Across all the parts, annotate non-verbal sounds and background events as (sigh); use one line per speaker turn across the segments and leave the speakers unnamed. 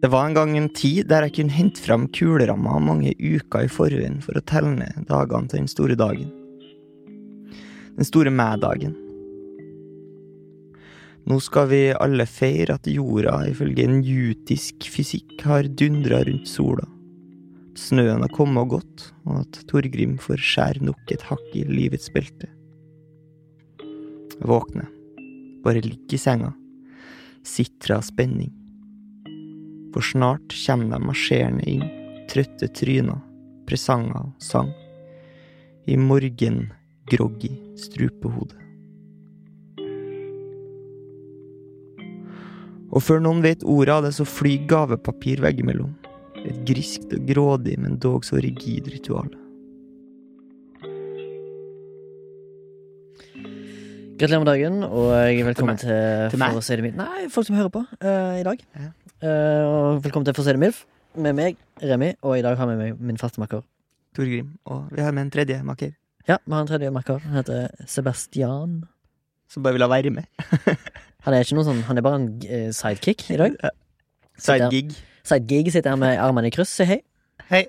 Det var en gang en tid der jeg kunne hente frem kuleramma mange uker i forveien for å telle ned dagene til den store dagen. Den store meg-dagen. Nå skal vi alle feire at jorda ifølge en jutisk fysikk har dundra rundt sola. Snøen har kommet og gått, og at Torgrim får skjære nok et hakk i livets belte. Jeg våkner. Bare ligger i senga. Sitrer av spenning for snart kommer de marsjerende inn, trøtte tryner, presanger og sang, i morgengroggy strupehode. Og før noen vet ordet av det, så flyr gavepapir veggimellom. Et griskt og grådig, men dog så rigid ritual.
Gratulerer med dagen, og velkommen
meg.
til,
Til meg?
For å si det mildt. Nei, folk som hører på eh, i dag.
Ja.
Eh, og velkommen til For å si det mildt, med meg, Remi, og i dag har vi med min faste makker.
Torgrim, og vi har med en tredje makker,
Ja, vi har en tredje makker. Han heter Sebastian.
som bare vil ha være med.
Han er ikke noe sånn, han er bare en eh, sidekick i dag.
Sidegig.
Sidegig sitter her med armene i kryss. Si hei.
Hei.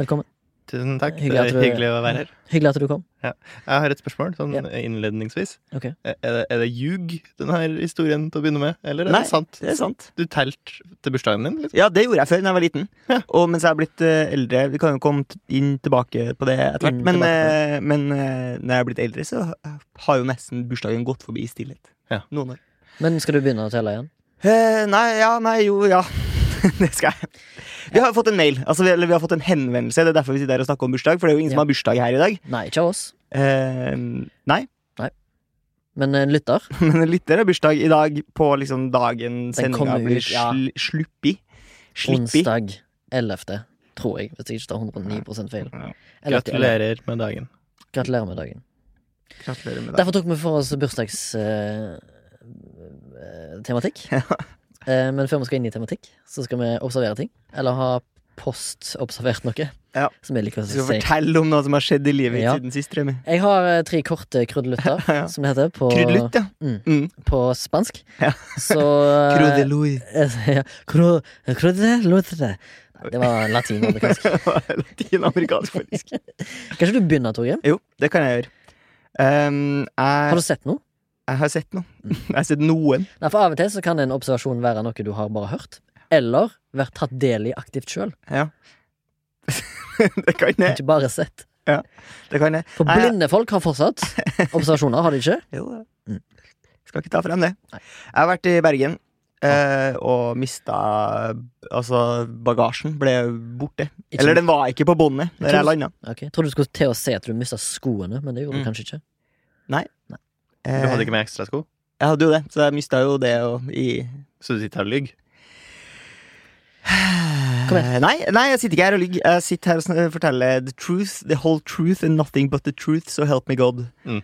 Velkommen.
Tusen takk.
Hyggelig at
det
du-
er hyggelig å være her.
Hyggelig at du kom.
Jeg har et spørsmål sånn
Ja.
innledningsvis. Eh,
Ok.
Er er det, er det ljug, denne historien, til å begynne med? Eller er
Nei.
det sant?
Det er sant.
Du telt til bursdagen din? Liksom?
Ja, det gjorde jeg før da jeg var liten. Og mens jeg er blitt eh, eldre Vi kan jo komme t- inn tilbake på det etter hvert.
Inn
Men,
tilbake
eh, men eh, når jeg er blitt eldre, så har jo nesten bursdagen gått forbi i stillhet.
Ja.
Noen år.
Men skal du begynne å telle igjen?
Eh, nei, ja, nei, jo, ja. (laughs) det skal jeg. Vi har jo fått en mail, altså vi, eller vi har fått en henvendelse. Det er derfor vi sitter her og snakker om bursdag, for det er jo ingen
Ja.
som har bursdag her i dag.
Nei, ikke av oss,
Eh, nei, (laughs)
men en lytter.
men en lytter har bursdag i dag på liksom dagen sendinga
kommer
blir
ut, ja.
sl sluppi. Slippi.
Onsdag 11., tror jeg, hvis jeg ikke tar 109 feil.
Ja.
11.
Gratulerer med dagen.
Gratulerer med dagen.
Gratulerer med
Derfor tok vi for oss eh, bursdagstematikk. Eh, men før vi skal inn i tematikk, så skal vi observere ting. Eller ha postobservert noe.
Ja.
Som jeg liker å
Du skal
si.
fortelle om noe som har skjedd i livet ditt
Ja.
siden sist, Remi.
Jeg har eh, tre korte krydderlutter,
(laughs) Ja.
som det heter på,
Kryddelutt, ja.
Mm.
Mm.
på spansk.
Ja. (laughs)
Så
Krudeloi.
eh, (laughs) ja, kro- Krydderlutter. Nei, Det var latin. amerikansk.
(laughs) Latinamerikansk, faktisk.
Kan ikke du begynne, Torgrim?
Jo, det kan jeg gjøre. Ehm,
Har
jeg,
du sett noe?
jeg har sett noe. (laughs) Jeg har sett noen.
Nei, for Av og til så kan en observasjon være noe du har bare hørt. Eller vært tatt del i aktivt sjøl.
Ja. (laughs) det kan
Eh,
jeg.
Ikke bare sett.
Det kan jeg.
For
Nei, jeg-
blinde folk har fortsatt
(laughs)
observasjoner, har de ikke?
Jo,
Mm.
jeg skal ikke ta frem det.
Nei.
Jeg har vært i Bergen. eh, og mista Altså, bagasjen ble borte.
Ikke
Eller den var ikke på båndet
Jeg
der
tror-
jeg landa.
Ok, Jeg trodde du skulle til å si at du mista skoene, men det gjorde
Mm.
du kanskje ikke.
Du
Eh.
hadde ikke med ekstrasko,
Jeg hadde jo det, så jeg mista jo det og, i
så du sitter her og lyver.
Kom igjen.
Eh, Nei, nei, jeg sitter ikke her og lyver. Jeg sitter her og sn- forteller the truth, the whole truth and nothing but the truth, so help me God.
Mm.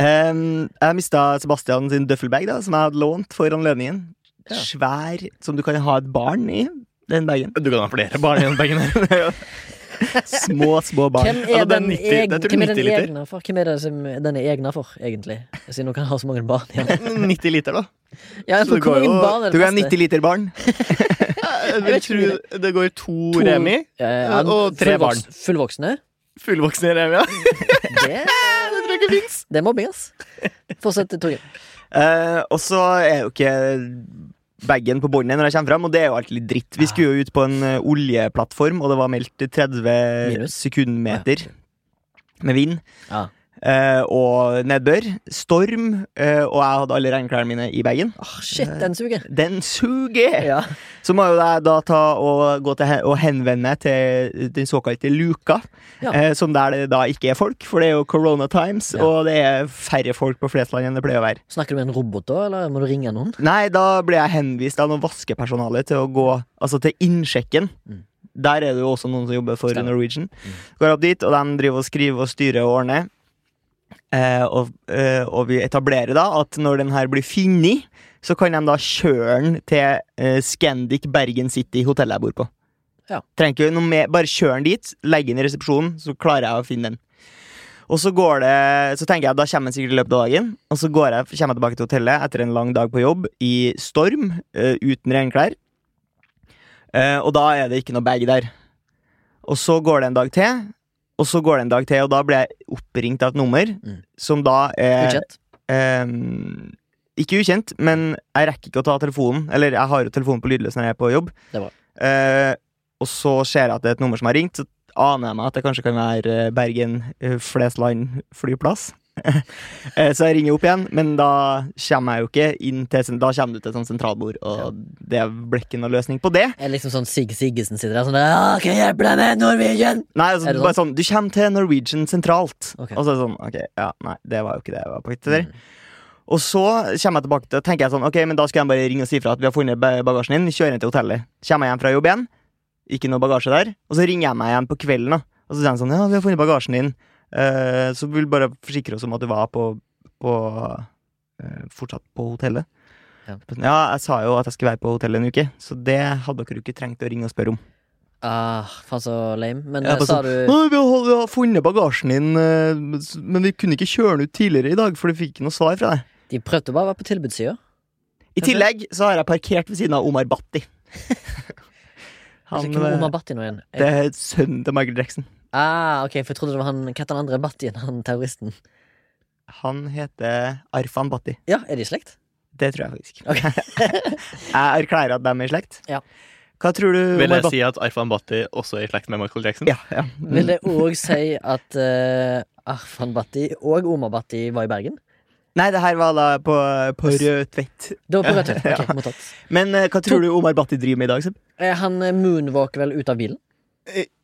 Em, jeg mista Sebastian sin døffelbag, da, som jeg hadde lånt for anledningen.
Ja.
Svær, som du kan ha et barn i.
(laughs)
Den bagen.
Du kan ha flere barn i den bagen her.
Små, små barn.
Hvem
Ja,
er
det er
den
90 det er
egen-
tror jeg
hvem er
90
den
liter.
egna for? Hvem er det som den er egna for, egentlig? Siden hun kan ha så mange barn
(laughs)
igjen.
(laughs)
90 liter, da.
Ja,
Så
for
det
hvor
går
mange
jo-
barn er
Du
det
kan ha
plass til?
90 liter barn.
Jeg
vet
vil
ikke
tro
hvor
det går to,
To-
remi.
Ja, ja,
Og tre barn.
fullvoks-
(laughs)
Fullvoksne.
Fullvoksne remi, ja.
Det,
Det tror jeg ikke fins.
(laughs) det er mobbing, ass. Fortsett, Torgrim.
Eh, og så er jo ikke bagen på båndet når jeg kommer fram, og det er jo alltid litt dritt. Vi skulle jo ut på en eh, oljeplattform, og det var meldt 30
Minus.
sekundmeter med vind.
Ja.
eh, og nedbør. Storm. eh, og jeg hadde alle regnklærne mine i bagen.
Åh, shit, den
(laughs)
suger.
Den suger!
Ja.
Så må jo jeg da ta og gå til he- og henvende meg til den såkalte luka,
Ja.
eh, som der det da ikke er folk, for det er jo corona times,
Ja.
og det er færre folk på Flesland enn det pleier å være.
Snakker du med en robot da, eller må du ringe noen?
Nei, da ble jeg henvist av noe vaskepersonale til å gå Altså til innsjekken.
Mm.
Der er det jo også noen som jobber for
Stemmer. Mm.
Norwegian. Går opp dit, og de driver og skriver og styrer og ordner. Eh, og, eh, og vi etablerer da at når den her blir funnet, så kan de da kjøre den til eh, Scandic Bergen City, hotellet jeg bor på.
Ja.
Trenger ikke gjøre noe mer, Bare kjør den dit, legg den i resepsjonen, så klarer jeg å finne den. Og så går det, så tenker jeg da kommer den sikkert i løpet av dagen. Og så går jeg, kommer jeg tilbake til hotellet etter en lang dag på jobb i storm, eh, uten regnklær. Eh, og da er det ikke noe bag der. Og så går det en dag til, og så går det en dag til, og da blir jeg oppringt av et nummer
Mm.
som da
Eh.
er
Ukjent.
Ehm, ikke ukjent, men jeg rekker ikke å ta telefonen. Eller jeg har jo telefonen på lydløs når jeg er på jobb.
Det er bra.
Eh, og så ser jeg at det er et nummer som har ringt, så aner jeg meg at det kanskje kan være eh, Bergen eh, Flesland flyplass. (laughs) Eh, så jeg ringer opp igjen, men da kommer jeg jo ikke inn til sen- Da kommer du til et sånt sentralbord, og det ble ikke noe løsning på det.
Er det liksom sånn Sig Siggesen sitter der sånn der, «Ah, Kan jeg hjelpe deg med Norwegian?
Nei, altså,
Er det
bare sånn Du kommer til Norwegian sentralt.
Ok. Mm.
Og så er det sånn Ok, ja, nei, det var jo ikke det jeg var på etter. Og så kommer jeg tilbake til tenker jeg sånn, ok, men da skal jeg bare ringe og si fra at vi har funnet ba- bagasjen din. Kjører inn til hotellet. Kommer jeg hjem fra jobb igjen, ikke noe bagasje der. Og så ringer jeg meg igjen på kvelden, da. og så sier han sånn, ja, vi har funnet bagasjen din. Eh, så vi vil bare forsikre oss om at du var på, på eh, fortsatt på hotellet.
Ja.
ja, jeg sa jo at jeg skulle være på hotellet en uke, så det hadde dere jo ikke trengt å ringe og spørre om.
Ah, faen så lame. Men
Ja,
eh,
bare
sa
sånn,
du
Nei, vi har, vi har funnet bagasjen din, eh, men vi kunne ikke kjøre den ut tidligere i dag, for vi fikk ikke noe svar fra deg.
De prøvde bare å være på tilbudssida.
I tillegg så har jeg parkert ved siden av Omar (laughs) Bhatti. Han,
Hvem er Omar
eh,
Bhatti nå igjen? Jeg-
det er sønnen til Michael Jackson.
Ah, ok, for jeg trodde det var han Hva heter han andre Battien, han terroristen?
Han heter Arfan Bhatti.
Ja, er de i slekt?
Det tror jeg faktisk.
Ok.
(laughs) Jeg erklærer at de er i slekt.
Ja.
Hva tror du
Vil
Omar
jeg
Bhatti
si at Arfan Bhatti også er i slekt med Michael Jackson?
ja, ja.
Vil det òg si at eh, Arfan Bhatti og Omar Bhatti var i Bergen?
Nei, det her var da på, på Rødtvet.
Det var på Rødtvet.
(laughs)
Ok, mottatt.
Men eh, hva tror du Omar Bhatti driver med i dag? Seb?
Eh, Han eh, moonwalker vel ut av bilen?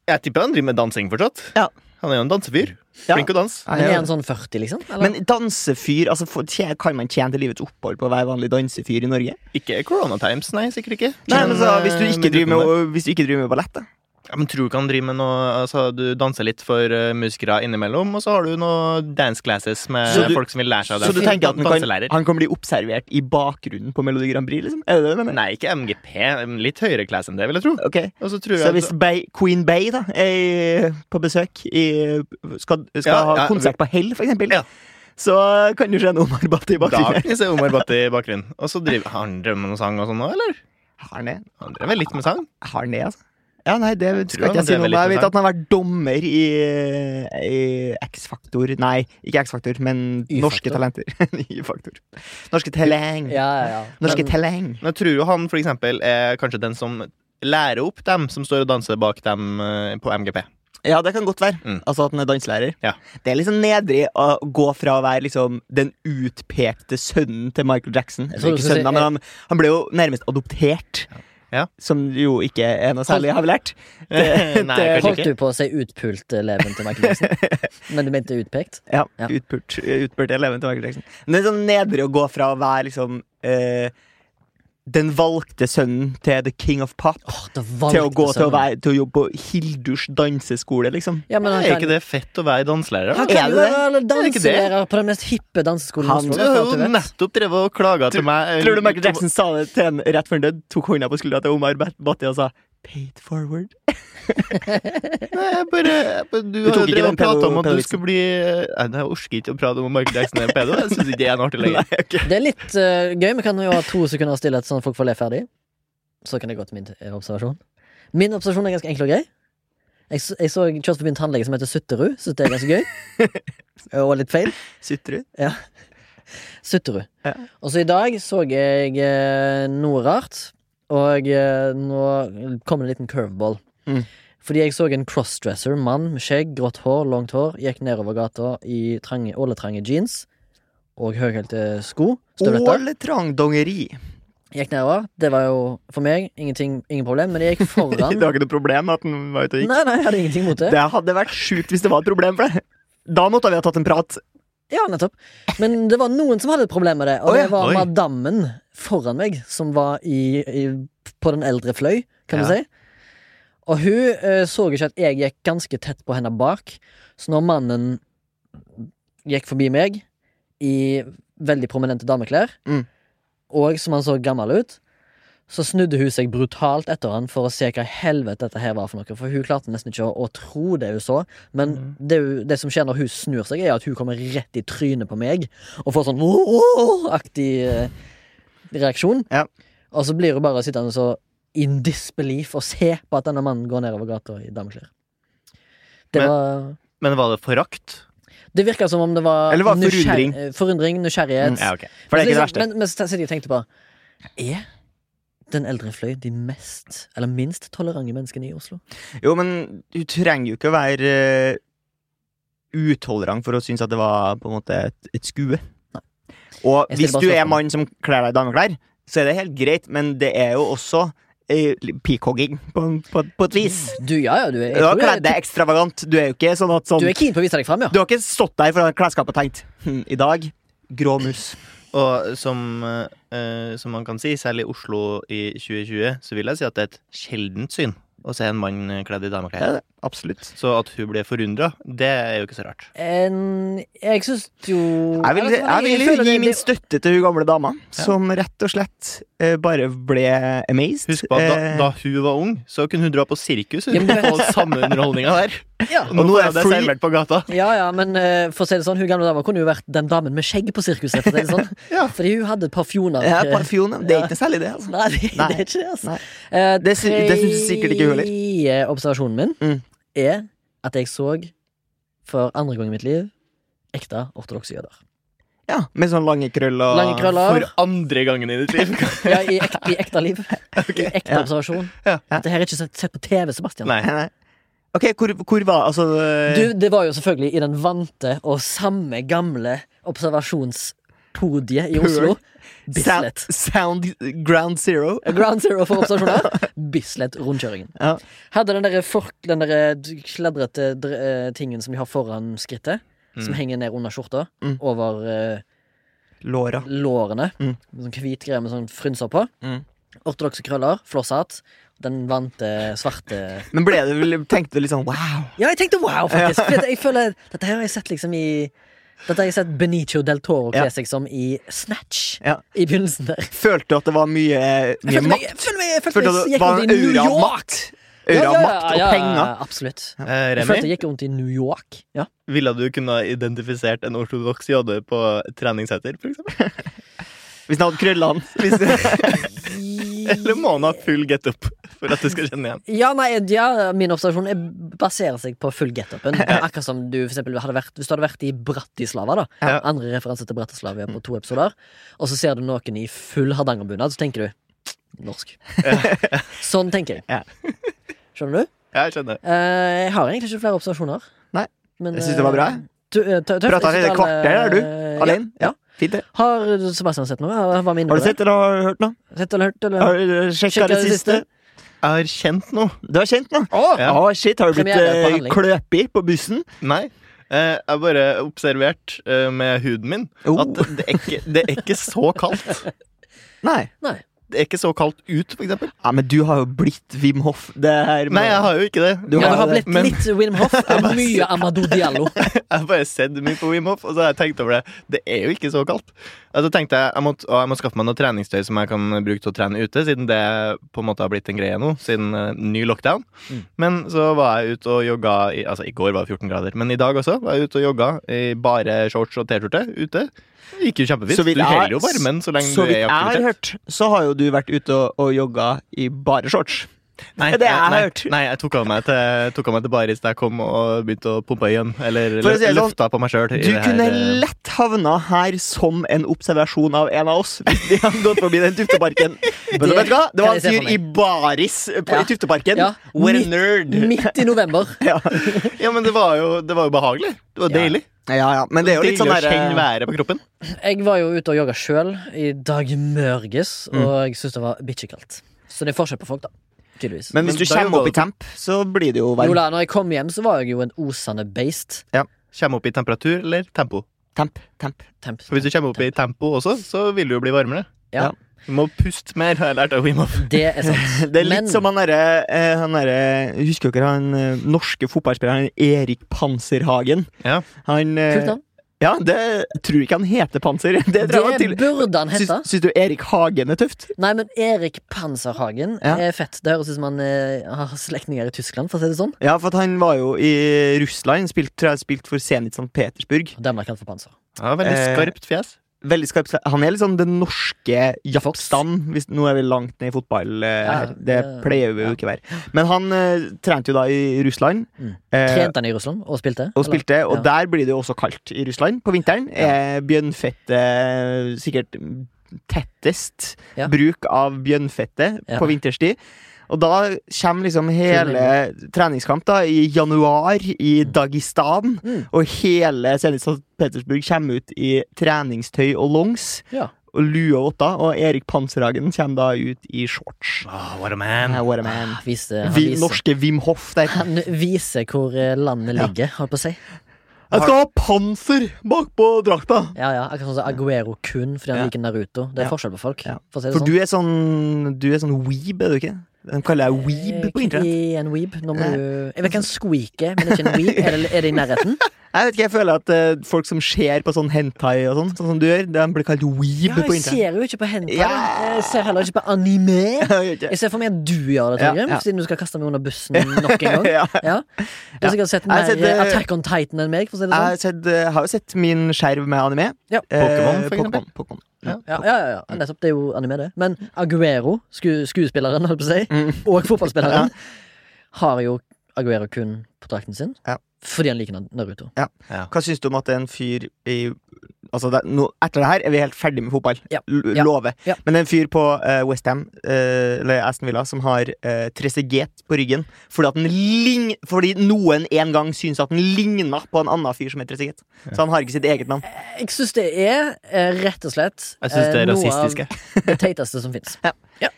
Jeg tipper han driver med dansing fortsatt.
Ja.
Han er jo en dansefyr.
Ja.
Flink til å danse.
Men er han sånn 40, liksom? Eller?
Men dansefyr, altså for, tje- kan man tjene til livets opphold på å være vanlig dansefyr i Norge?
Ikke Corona Times, nei, sikkert ikke.
Nei, men så,
eh,
hvis, du ikke
men
driver
utenom det.
med, hvis du ikke driver med ballett, da?
ja, Men tror du ikke han driver med noe Altså, du danser litt for eh, musikere innimellom, og så har du noe dance classes
Så
med
du-
folk som vil lære seg å
Så du
danse.
tenker at han kan,
Danselærer.
han kan bli observert i bakgrunnen på Melodi Grand Prix, liksom? Er det det du mener?
Nei, ikke MGP. Litt høyere class enn det, vil jeg tro.
Ok,
Og så
Så
tror jeg altså-
hvis Bay, Queen Bay da er i- på besøk i, skal, skal
Ja,
ha
ja,
konsert på Hell, for eksempel,
Ja.
så kan du se en Omar Bhatti i
Da
bakgrunnen.
kan vi se Omar Bhatti i bakgrunnen. Og så driver han drev med noe sang og sånn nå, eller?
Har han det?
Han drev vel litt med sang?
Har han det, altså? Ja, nei, det skal
han
ikke jeg si
drev
noe om.
litt
Jeg
med
vet at han har vært dommer i, i X-Faktor Nei, ikke X-Faktor, men
Y-faktor.
Norske Talenter. (laughs) Y-Faktor. Norske Teleng.
Ja, ja, ja.
Norske
Men-
Teleng.
Men jeg tror jo han for eksempel er kanskje den som lærer opp dem som står og danser bak dem eh, på MGP.
Ja, det kan godt være.
Mm.
Altså at han er danselærer.
Ja.
Det er liksom nedrig å gå fra å være liksom den utpekte sønnen til Michael Jackson
Jeg tror
Eller
du
ikke
skal si-
sønnen, da, men han, han ble jo nærmest adoptert.
Ja.
Som jo ikke er noe særlig, har vi
(laughs)
lært.
Nei,
(laughs) det-
kanskje
Holdt
ikke.
du på å si utpult eh, leven til Michael
(laughs)
Jackson? Men du mente utpekt?
Ja,
Ja.
Utpurt, utpurt eleven til Michael Jackson. Men det er sånn nedrig å gå fra å være liksom eh, den valgte sønnen til the king of pop
Åh, det
til å
valgte
gå til å,
sønnen.
være, til å jobbe på Hildurs danseskole, liksom.
Ja, men han
Er ikke
kan,
det fett å være danselærer?
han
da?
Er
kan
det
jo
det?
være
det ikke det?
danselærer på den mest hippe danseskolen i
Han-
Oslo.
Du
da,
har
for alt
jo
du vet.
nettopp drevet og klaga til meg. eh,
Tror du Michael Jackson sa det til en rett før han døde? Tok hånda på skuldra til Omar Bat- Bhatti og sa Pay it forward.
Nei, jeg bare, jeg bare, du
Du
har
tok
jo
ikke
drevet
den
og prata om at du
pedo-pedovitsen.
skal bli eh, Nei, Jeg orker ikke å prate om at Michael Jackson er en pedo. Jeg syns ikke det er en artig lenger.
Det er litt eh, gøy. Vi kan jo ha to sekunder stillhet, sånn at folk får le ferdig. Så kan jeg gå til min eh, observasjon. Min observasjon er ganske enkel og grei. Jeg, s- jeg så kjørt forbi en tannlege som heter Sutterud. Syns det er ganske gøy.
(laughs)
og litt feil.
Sutrer.
Sutterud.
Ja.
Og så i dag så jeg eh, noe rart, og eh, nå kom det en liten curveball.
Mm.
Fordi jeg så en crossdresser, mann med skjegg, grått hår, langt hår, gikk nedover gata i trange, åletrange jeans og høyhælte sko. Støvletter.
Åletrangdongeri.
Gikk nedover. Det var jo for meg ingenting, ingen problem, men
(laughs)
jeg gikk
Det
foran.
var ikke noe problem at den var ute og gikk.
Nei, nei, jeg hadde ingenting mot det.
Det hadde vært sjukt hvis det var et problem for deg. Da måtte vi ha tatt en prat.
Ja, nettopp. Men det var noen som hadde et problem med det, og
Å, ja.
det var
Oi.
madammen foran meg, som var i, i, på den eldre fløy, kan
Ja.
du si. Og hun eh, så ikke at jeg gikk ganske tett på henne bak, så når mannen gikk forbi meg i veldig prominente dameklær,
Mm.
og som han så gammel ut, så snudde hun seg brutalt etter han for å se hva i helvete dette her var for noe, for hun klarte nesten ikke å, å tro det hun så, men
Mhm.
det, hun- det som skjer når hun snur seg, er at hun kommer rett i trynet på meg, og får sånn aktig eh, reaksjon.
Ja.
Og så blir hun bare sittende så in disbelief og se på at denne mannen går nedover gata i dameklær. Det
Men-
var
Men var det forakt?
Det virka som om det var
Eller var det
nysgjerr-
forundring? Mm,
eh, forundring nysgjerrighet.
Ja, ok. For
Men så
det er ikke det
liksom-
verste.
Men, men så sitter jeg og tenkte på Er den eldre fløy de mest, eller minst tolerante menneskene i Oslo?
Jo, men du trenger jo ikke å være eh, utolerant for å synes at det var på en måte et, et skue. Og
Jeg stiller
hvis
bare
du er
spørsmål.
mann som kler deg i dameklær, så er det helt greit, men det er jo også eh, peacogging på, på, på et vis.
Du, ja, ja, du er, jeg
Du har
tror jeg,
kledd deg ekstravagant. Du er jo ikke sånn at sånn
du er keen på å vise deg fram, ja.
Du har ikke stått der foran klesskapet og tenkt hm, I dag grå mus.
Og som, eh, som man kan si, særlig i Oslo i 2020, så vil jeg si at det er et sjeldent syn å se en mann kledd i
Ja,
dameklær.
det- absolutt.
Så at hun ble forundra, det er jo ikke så rart.
En, jeg syns jo
Jeg vil,
vet ikke,
jeg vil
altså, føler
gi
det-
min
det-
støtte til hun gamle dama, som rett og slett eh, bare ble amazed.
Husk på at da,
Eh,
da hun var ung, så kunne hun dra på sirkus
Ja,
hun,
men du
og samme underholdninga der.
ja.
Og nå,
Og nå
får
er
jeg det
free.
servert på gata.
Ja, ja, men eh, for å si det sånn, hun gamle dama kunne jo vært den damen med skjegg på sirkuset. For å si det sånn.
(laughs) Ja.
Fordi hun hadde et par fjoner.
Ja,
(laughs) eh,
parfyme. Det er ikke noe særlig, det. altså
Nei, det,
Nei.
det er ikke det, altså.
Nei.
Eh,
Det sy- det syns sikkert ikke hun heller.
Tredje observasjonen min
Mm.
er at jeg så, for andre gang i mitt liv, ekte ortodokse jøder.
Ja, Med sånne lange krøller.
Lange krøller.
For andre gangen i ditt liv.
(laughs) Ja, i, ek, I ekte
(laughs)
liv. I ekte
Ja.
observasjon.
Ja.
Dette her er ikke sett, sett på TV, Sebastian.
Nei.
Nei, nei. Ok, hvor, hvor var altså eh,
Du, det var jo selvfølgelig i den vante og samme gamle observasjonspodiet i
Pøl.
Oslo.
Sa-
Bislett.
Sound Ground Zero?
Ground zero for observasjoner. Bislett-rundkjøringen.
Ja.
Hadde den derre fork, den derre d- kladrete dr- eh, tingen som de har foran skrittet, som henger ned under skjorta,
Mm.
over eh,
Låra.
lårene,
Mm.
med sånn hvit greie med sånn frynser på.
Mm.
Ortodokse krøller, flosshatt, den vante svarte
Men ble det vel, tenkte du litt sånn wow?
Ja, jeg tenkte wow, faktisk! For jeg føler Dette her har jeg sett liksom i Dette har jeg sett Benicio del Toro kle
Ja.
seg som i Snatch
Ja.
i begynnelsen der.
Følte du at det var mye,
Jeg
mye
følte meg,
makt?
jeg følte meg, jeg følte
Følte
meg,
du at
jeg
det
gikk
var
rundt
en
i New
aura av
York!
makt? Aura av makt og penger?
Absolutt.
Eh,
Jeg følte
Remi,
jeg gikk rundt i New York.
(laughs)
Ja.
ville du kunne ha identifisert en ortodoks jøde på treningssenter, for eksempel?
Hvis han hadde
(laughs)
krøllene. Hvis
Eller må han ha full get up for at du skal kjenne igjen?
Ja, nei, ja, Min observasjon er baserer seg på full
(laughs)
get-upen. Eh, Akkurat som du for eksempel, hadde vært Hvis du hadde vært i Bratislava, da
Ja.
andre referanse til Bratislava på to episoder, og så ser du noen i full hardangerbunad, så tenker du norsk.
(laughs)
Sånn tenker
Ja.
jeg. Skjønner du?
Ja, Jeg skjønner.
Eh, jeg har egentlig ikke flere observasjoner.
Nei.
Men, eh,
Jeg synes det var bra, jeg. Pratet i et kvarter, er du? Alene?
Ja.
Ja. Fint, det.
Har Sebastian sett noe? Har- Hva med
Har du sett eller har du hørt noe?
Sett eller hørt? Eller?
Har du sjekka det siste?
Jeg har kjent noe.
Du har kjent noe?
Å!
Ja.
Å, shit, har du blitt
Premiere på
eh,
handling.
kløpig på bussen?
Nei. Eh, jeg har bare observert eh, med huden min
Oh.
at det er, ikke, det er ikke så kaldt.
Nei.
Nei.
Det er ikke så kaldt ut, for eksempel.
Ja, men du har jo blitt Wim Hoff. Det her
Nei, jeg har jo ikke det.
Du
Du
har
ja, det har
det,
blitt litt Wim
(laughs)
Hoff og mye Amadou Diallo.
Jeg har bare sett mye på Wim Hof, og så har jeg tenkt over det. Det er jo ikke så kaldt. Og så tenkte jeg jeg må, å, jeg må skaffe meg noe treningstøy som jeg kan bruke til å trene ute, siden det på en måte har blitt en greie nå, siden eh, ny lockdown.
Mm.
Men så var jeg ute og jogga i, Altså, i går var det 14 grader, men i dag også var jeg ute og jogga i bare shorts og T-skjorte ute. Det gikk jo kjempefint.
Så vidt
Du
jeg-
holder jo varmen så lenge
Så
du
vidt
er i
jeg har
aktivitet.
hørt, så har jo du vært ute og, og jogga i bare shorts.
Nei,
Det er jeg
nei,
hørt.
Nei, jeg tok av meg til, tok av meg til baris da jeg kom og begynte å pumpe igjen. Eller
For å si det sånn,
løfta på meg sjøl.
Du kunne
eh,
lett havna her som en observasjon av en av oss. Hvis vi hadde gått forbi den tufteparken. Men
Det
vet du hva? Det
kan jeg
var
se
en
for
fyr
meg.
i baris på,
Ja.
i tufteparken.
Ja.
What a
Midt-
nerd!
Midt i november.
(laughs) Ja.
Ja, men det var jo, det var jo behagelig. Det var
Ja.
deilig.
ja, ja. Men det er jo
Deilig
litt sånn
å kjenne
derre
været på kroppen.
Jeg var jo ute og jogga sjøl i dag mørges,
Mm.
og jeg syns det var bikkjekaldt. Så det er forskjell på folk, da. Tydeligvis.
Men hvis
Men
du
da jogga
kommer opp
du-
i temp, så blir det jo
jo
varmt.
da, når jeg kom hjem, så var jeg jo en osende beist.
Kommer opp i temperatur eller tempo.
Temp, temp.
Temp.
For Hvis du kommer opp i tempo også, så vil du jo bli varmere.
Ja.
Du må puste mer, har jeg lært av Wim Hof.
Det er sant.
(laughs) Det er litt
Men-
som han derre eh, han derre- Husker dere han eh, norske fotballspilleren Erik Panserhagen?
Ja.
Han eh,
Kult navn.
Ja, det jeg tror ikke han heter Panser. (laughs) Det tror jeg var
Det
til
burde han
Syns,
hete.
syns du Erik Hagen er tøft?
Nei, men Erik Panserhagen
Ja.
er fett. Det høres ut som han eh, har slektninger i Tyskland, for å si det sånn.
Ja, for at han var jo i Russland. Spilt, tror jeg spilt for Zenit St. Petersburg.
Og Danmark kalt for Panser.
Ja, veldig
Eh,
skarpt fjes.
Veldig skarp Han er litt sånn den norske
Fox.
jaktstam. Hvis, nå er vi langt ned i fotball eh,
Ja,
her. Det
det-
pleier vi
ja.
jo ikke å være. Men han eh, trente jo da i Russland.
Mm.
eh,
Trente han i Russland og spilte?
og spilte, og
Ja.
der blir det jo også kaldt i Russland på vinteren. Eh, bjørnfette Sikkert tettest
Ja.
bruk av bjørnfette
Ja.
på vinterstid. Og da kommer liksom hele treningskamp da i januar i Dagestan.
Mm.
Og hele Zenit St. Petersburg kommer ut i treningstøy og longs
Ja.
og lue og votter. Og Erik Panserhagen kommer da ut i shorts.
Ah, what a man.
Eh, What a man.
Ah, viste, han,
Vi,
viser,
norske Wim Hof der.
han viser hvor eh, landet
Ja.
ligger, holdt på å si.
Jeg skal ha panser bakpå drakta!
Ja, ja, Akkurat sånn som Aguero kun fordi han
Ja.
liker Naruto. Det er
Ja.
forskjell på folk.
Ja.
For å si det
For
sånn.
du er sånn Du er sånn weeb, er du ikke? De kaller deg weeb på internett.
sånn. Eh, I en weeb. Nå må du Jeg vet ikke en squeak er, men ikke en weeb. Er det, er det i nærheten?
Jeg vet ikke, jeg føler at eh, folk som ser på sånn hentai og sånn, sånn som du gjør, de blir kalt (laughs) weeb
Ja,
på
jeg
internett.
ser jo ikke på hentai.
Ja.
Jeg ser heller ikke på anime.
(laughs) Jeg gjør ikke det.
Jeg ser for meg at du gjør det,
Ja,
Torgrim,
ja.
siden du skal kaste meg under bussen nok en gang.
(laughs) Ja.
Ja. Du har sikkert sett
Jeg har
mer
sett, eh,
Attack on Titan enn meg. For å si det
Jeg
sånn.
har, sett, eh, har jo sett min skjerv med anime.
Ja.
Eh,
Pokémon, for eksempel.
Pokémon, Pokémon.
Ja, ja, ja, ja, nettopp. Det er jo anime, det. Men Aguero, sku, skuespilleren, holdt på å si,
Mm.
og
(laughs)
fotballspilleren, har jo Aguero kun på drakten sin
Ja.
fordi han liker Na- Naruto.
Hva syns du om at det er en fyr i Altså, det, er- nå, etter det her er vi helt ferdig med fotball.
Ja.
L-
Ja.
Lover.
Ja.
Men det er en fyr på eh, West Ham, eh, eller Aston Villa, som har uh, Treseguet på ryggen fordi, at den lign, fordi noen en gang syns at den ligna på en annen fyr som het Treseguet. Så han har ikke sitt eget navn.
Jeg syns det er eh, rett og slett
Jeg syns det
eh,
er
noe
rasistiske.
av det teiteste som
(laughs)
fins.
Ja.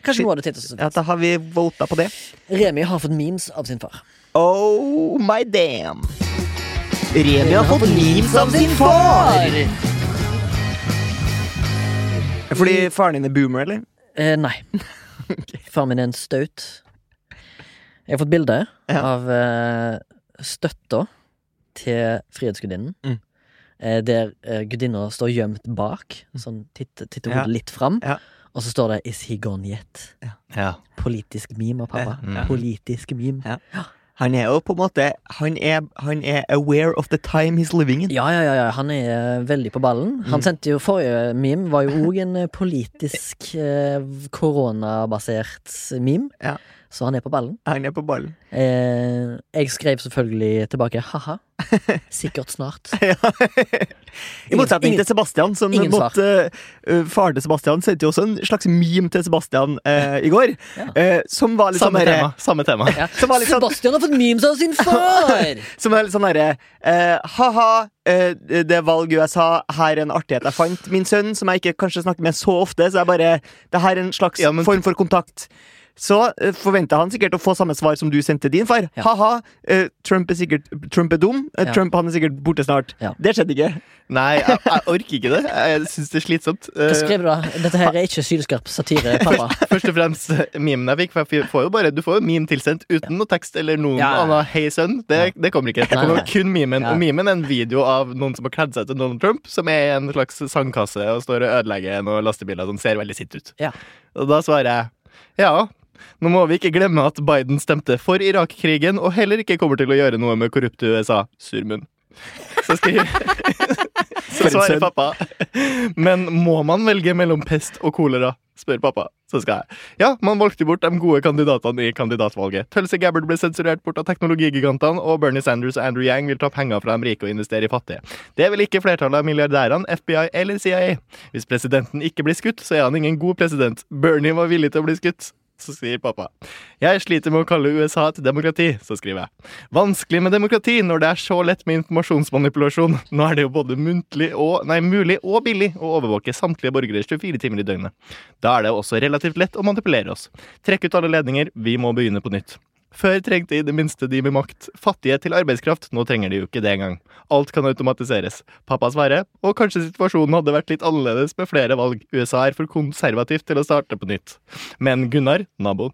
kanskje noe av det teiteste som
Ja, da har vi vota på det.
fins. Remi har fått memes av sin far.
Oh my damn. Remi har fått memes av sin far! Fordi faren din er boomer, eller?
Eh, nei. Faren min er en staut. Jeg har fått bilde
Ja.
av eh, støtta til Frihetsgudinnen.
Mm.
Eh, der eh, gudinna står gjemt bak, sånn titter titter hodet
Mm. Ja.
litt fram.
Ja.
Og så står det 'Is he gone yet?'
Ja.
Politisk meme av pappa.
Ja.
Politisk meme.
Ja. Han er jo på en måte Han er, han er aware of the time he's living in.
Ja, ja, ja, ja. han er eh, veldig på ballen.
Mm.
Han sendte jo forrige meme, var jo òg en eh, politisk eh, koronabasert meme.
Ja.
Så han er på ballen.
Han er på ballen. (laughs)
Eh, jeg skrev selvfølgelig tilbake haha. Sikkert snart.
I motsetning til Sebastian, som
ingen svar.
måtte eh, Faren til Sebastian sendte jo også en slags meme til Sebastian eh, i går,
Ja.
eh, som var litt sånn
Samme
derre
tema. Samme tema.
Ja.
Som var litt sånn-
Sebastian har fått memes av sin
(laughs)
far!
Som er litt sånn derre eh, Ha-ha, eh, det er valg i USA. Her er en artighet jeg fant. Min sønn, som jeg ikke kanskje snakker med så ofte, så jeg bare Det her er en slags
Ja, men-
form for kontakt. Så eh, forventa han sikkert å få samme svar som du sendte din far.
Ja.
Ha-ha, eh, Trump er sikkert Trump er dum. Eh,
Ja.
Trump han er sikkert borte snart.
Ja.
Det skjedde ikke.
Nei, jeg, jeg orker ikke det. Jeg syns det er slitsomt.
Hva
Eh,
skrev du, da? Dette her er ikke sylskarp satire,
(laughs)
pappa.
Først og fremst eh, memen jeg fikk. For jeg får jo bare, du får jo meme tilsendt uten noe tekst eller noen
Ja, ja.
annen 'hei, sønn'. Det, det kommer ikke. Det
Nei,
kommer
nei.
kun memen.
Ja.
Og memen er en video av noen som har kledd seg til Donald Trump, som er i en slags sandkasse og står og ødelegger noen lastebiler som ser veldig sitt ut.
Ja.
Og da svarer jeg ja. Nå må vi ikke glemme at Biden stemte for Irak-krigen og heller ikke kommer til å gjøre noe med korrupte USA. Surmunn. Så
(laughs)
skriver Så
For en
svarer
sønn.
pappa. Men må man velge mellom pest og kolera? spør pappa. Så skal jeg. Ja, man valgte bort de gode kandidatene i kandidatvalget. Tølse Gabbard ble sensurert bort av teknologigigantene, og Bernie Sanders og Andrew Yang vil ta penger fra de rike og investere i fattige. Det vil ikke flertallet av milliardærene, FBI eller CIA. Hvis presidenten ikke blir skutt, så er han ingen god president. Bernie var villig til å bli skutt. (laughs) Så sier pappa. Jeg sliter med å kalle USA et demokrati, så skriver jeg. Vanskelig med demokrati når det er så lett med informasjonsmanipulasjon. Nå er det jo både muntlig og, nei, mulig og billig å overvåke samtlige borgere 24 timer i døgnet. Da er det også relativt lett å manipulere oss. Trekk ut alle ledninger, vi må begynne på nytt. Før trengte i det minste de med makt fattige til arbeidskraft, nå trenger de jo ikke det engang. Alt kan automatiseres. Pappa svarer, og kanskje situasjonen hadde vært litt annerledes med flere valg. USA er for konservativt til å starte på nytt. Men Gunnar, naboen,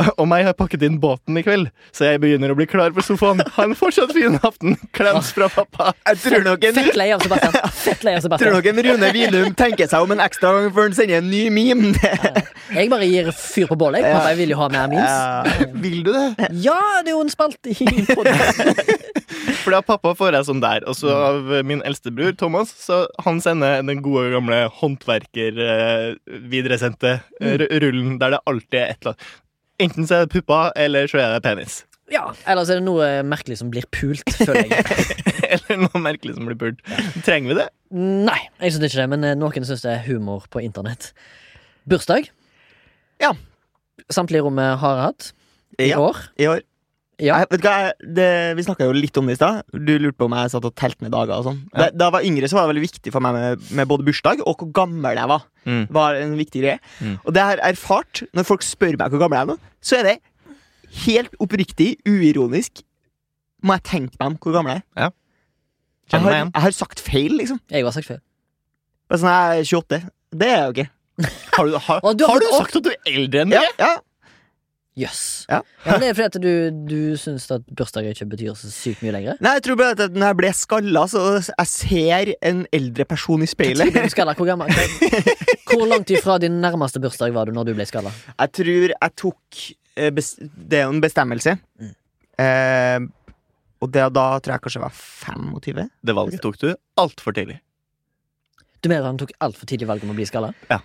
(laughs) og meg har pakket inn båten i kveld, så jeg begynner å bli klar for sofaen. Ha en fortsatt fin aften. Klems fra pappa.
Jeg tror nok en,
Fett lei av Sebastian. Fett lei av
tror
Sebastian.
nok en Rune Wilum tenker seg om en ekstra gang før han sender en ny meme.
Jeg bare gir fyr på bålet. jeg. Pappa jeg vil jo ha mer memes.
Vil du det?
Ja, det er jo en spalt i
(laughs)
podden.
For av pappa får jeg sånn der. Og så av min eldste bror, Thomas, så han sender den gode gamle eh, håndverker-videresendte eh, rullen der det alltid er et eller annet. Enten så er det puppa, eller så er det penis. (laughs)
Ja, Ellers er det noe merkelig som blir pult, føler
(laughs)
jeg.
Eller noe merkelig som blir pult. Trenger vi det?
Nei, jeg syns ikke det, men eh, noen syns det er humor på internett. Bursdag.
Ja.
Samtlige i rommet har hatt. I
Ja,
år.
i år.
Ja.
Jeg, vet du hva, jeg- det, Vi snakka jo litt om det i stad. Du lurte på om jeg satt og telte ned dager. og sånn da,
Ja.
da jeg var yngre, så var det veldig viktig for meg med, med både bursdag og hvor gammel jeg var. var en viktig greie.
Mm.
Og det jeg har erfart, når folk spør meg hvor gammel jeg er nå, så er det helt oppriktig, uironisk Må jeg tenke meg om hvor gammel jeg er? Jeg
Kjenner
har,
meg igjen.
jeg har sagt feil, liksom.
Jeg har sagt feil.
Det er sånn, jeg er 28. Det er jo ikke.
Har du, har,
Og du har
har du
fått opp-
sagt at du er eldre enn det?
Ja, ja.
Jøss.
Ja.
Ja, men det er fordi at du, du syns at bursdager ikke betyr så sykt mye lenger.
Nei, jeg tror bare at når jeg ble skalla, så jeg ser en eldre person i speilet.
Du skalla, hvor,
(laughs)
gammel, hvor langt ifra din nærmeste bursdag var du når du ble skalla?
Jeg tror jeg tok eh, bes- Det er jo en bestemmelse.
Mm.
Eh, og det, da tror jeg kanskje jeg var 25.
Det valget tok du altfor tidlig.
Du mener han tok altfor tidlig valg om å bli skalla?
Ja.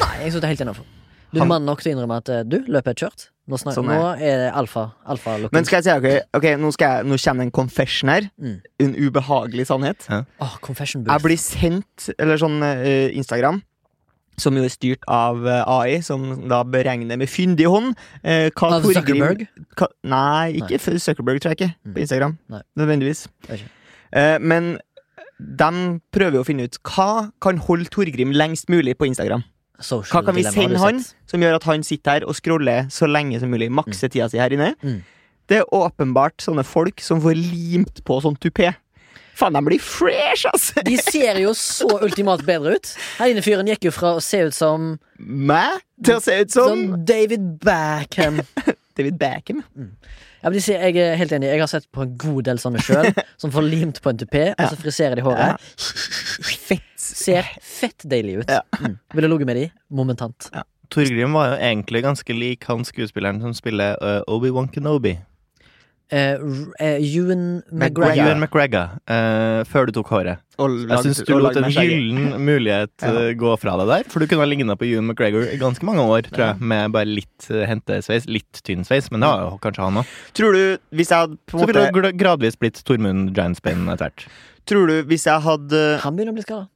Nei, jeg synes det er helt innafor. Du er
Han-
mann nok til å innrømme at eh, du, løpet er kjørt. Nå, snak,
Sånn er
nå er det alfa. alfa
Men skal jeg si dere Ok, nå, skal jeg, nå kommer det en confession her.
Mm.
En ubehagelig sannhet.
Åh, confession
Jeg
booth.
blir sendt Eller sånn eh, Instagram. Som jo er styrt av eh, AI, som da beregner med fyndig hånd. eh, hva
Av
Torgrim-
Zuckerberg?
hva, nei,
Nei.
ikke f- Zuckerberg, tror jeg ikke.
Mm.
På Instagram.
Nei.
Nødvendigvis.
Det er ikke.
Eh, men de prøver jo å finne ut hva kan holde Torgrim lengst mulig på Instagram.
Social
Hva kan vi
Mm. dilemma,
sende
har du
han
sett?
som gjør at han sitter her og scroller så lenge som mulig? Makse tida si her inne.
Mm.
Det er åpenbart sånne folk som får limt på sånn tupé. Faen, de blir fresh, ass!
De ser jo så ultimat bedre ut. Han ene fyren gikk jo fra å se ut som,
Meg til å se ut som
som David Backham
David Beckham.
Ja, men de sier, Jeg er helt enig, jeg har sett på en god del sånne
(laughs)
sjøl, som får limt på en tupé, og så friserer de håret.
Fett.
Ser fett deilig ut.
Ja.
Mm. Ville ligget med de momentant.
Torgrim var jo egentlig ganske lik han skuespilleren som spiller øh, Obi-Wan Kenobi.
Eh, r- eh, Ewan
McGregor.
McGregor.
Ja.
Ewan McGregor, øh, før du tok håret. Jeg syns du lot en (laughs) gyllen mulighet
Ja.
eh, gå fra deg der. For du kunne ha ligna på Ewan McGregor i ganske mange år, tror jeg. Med bare litt eh, hentesveis. Litt tynn sveis, men det har jo kanskje han òg.
Tror du, hvis jeg hadde på
Så
en
ville
måte,
du gra- gradvis blitt Tormund Janspain etter hvert.
Tror du hvis jeg hadde
Han begynner å bli skada.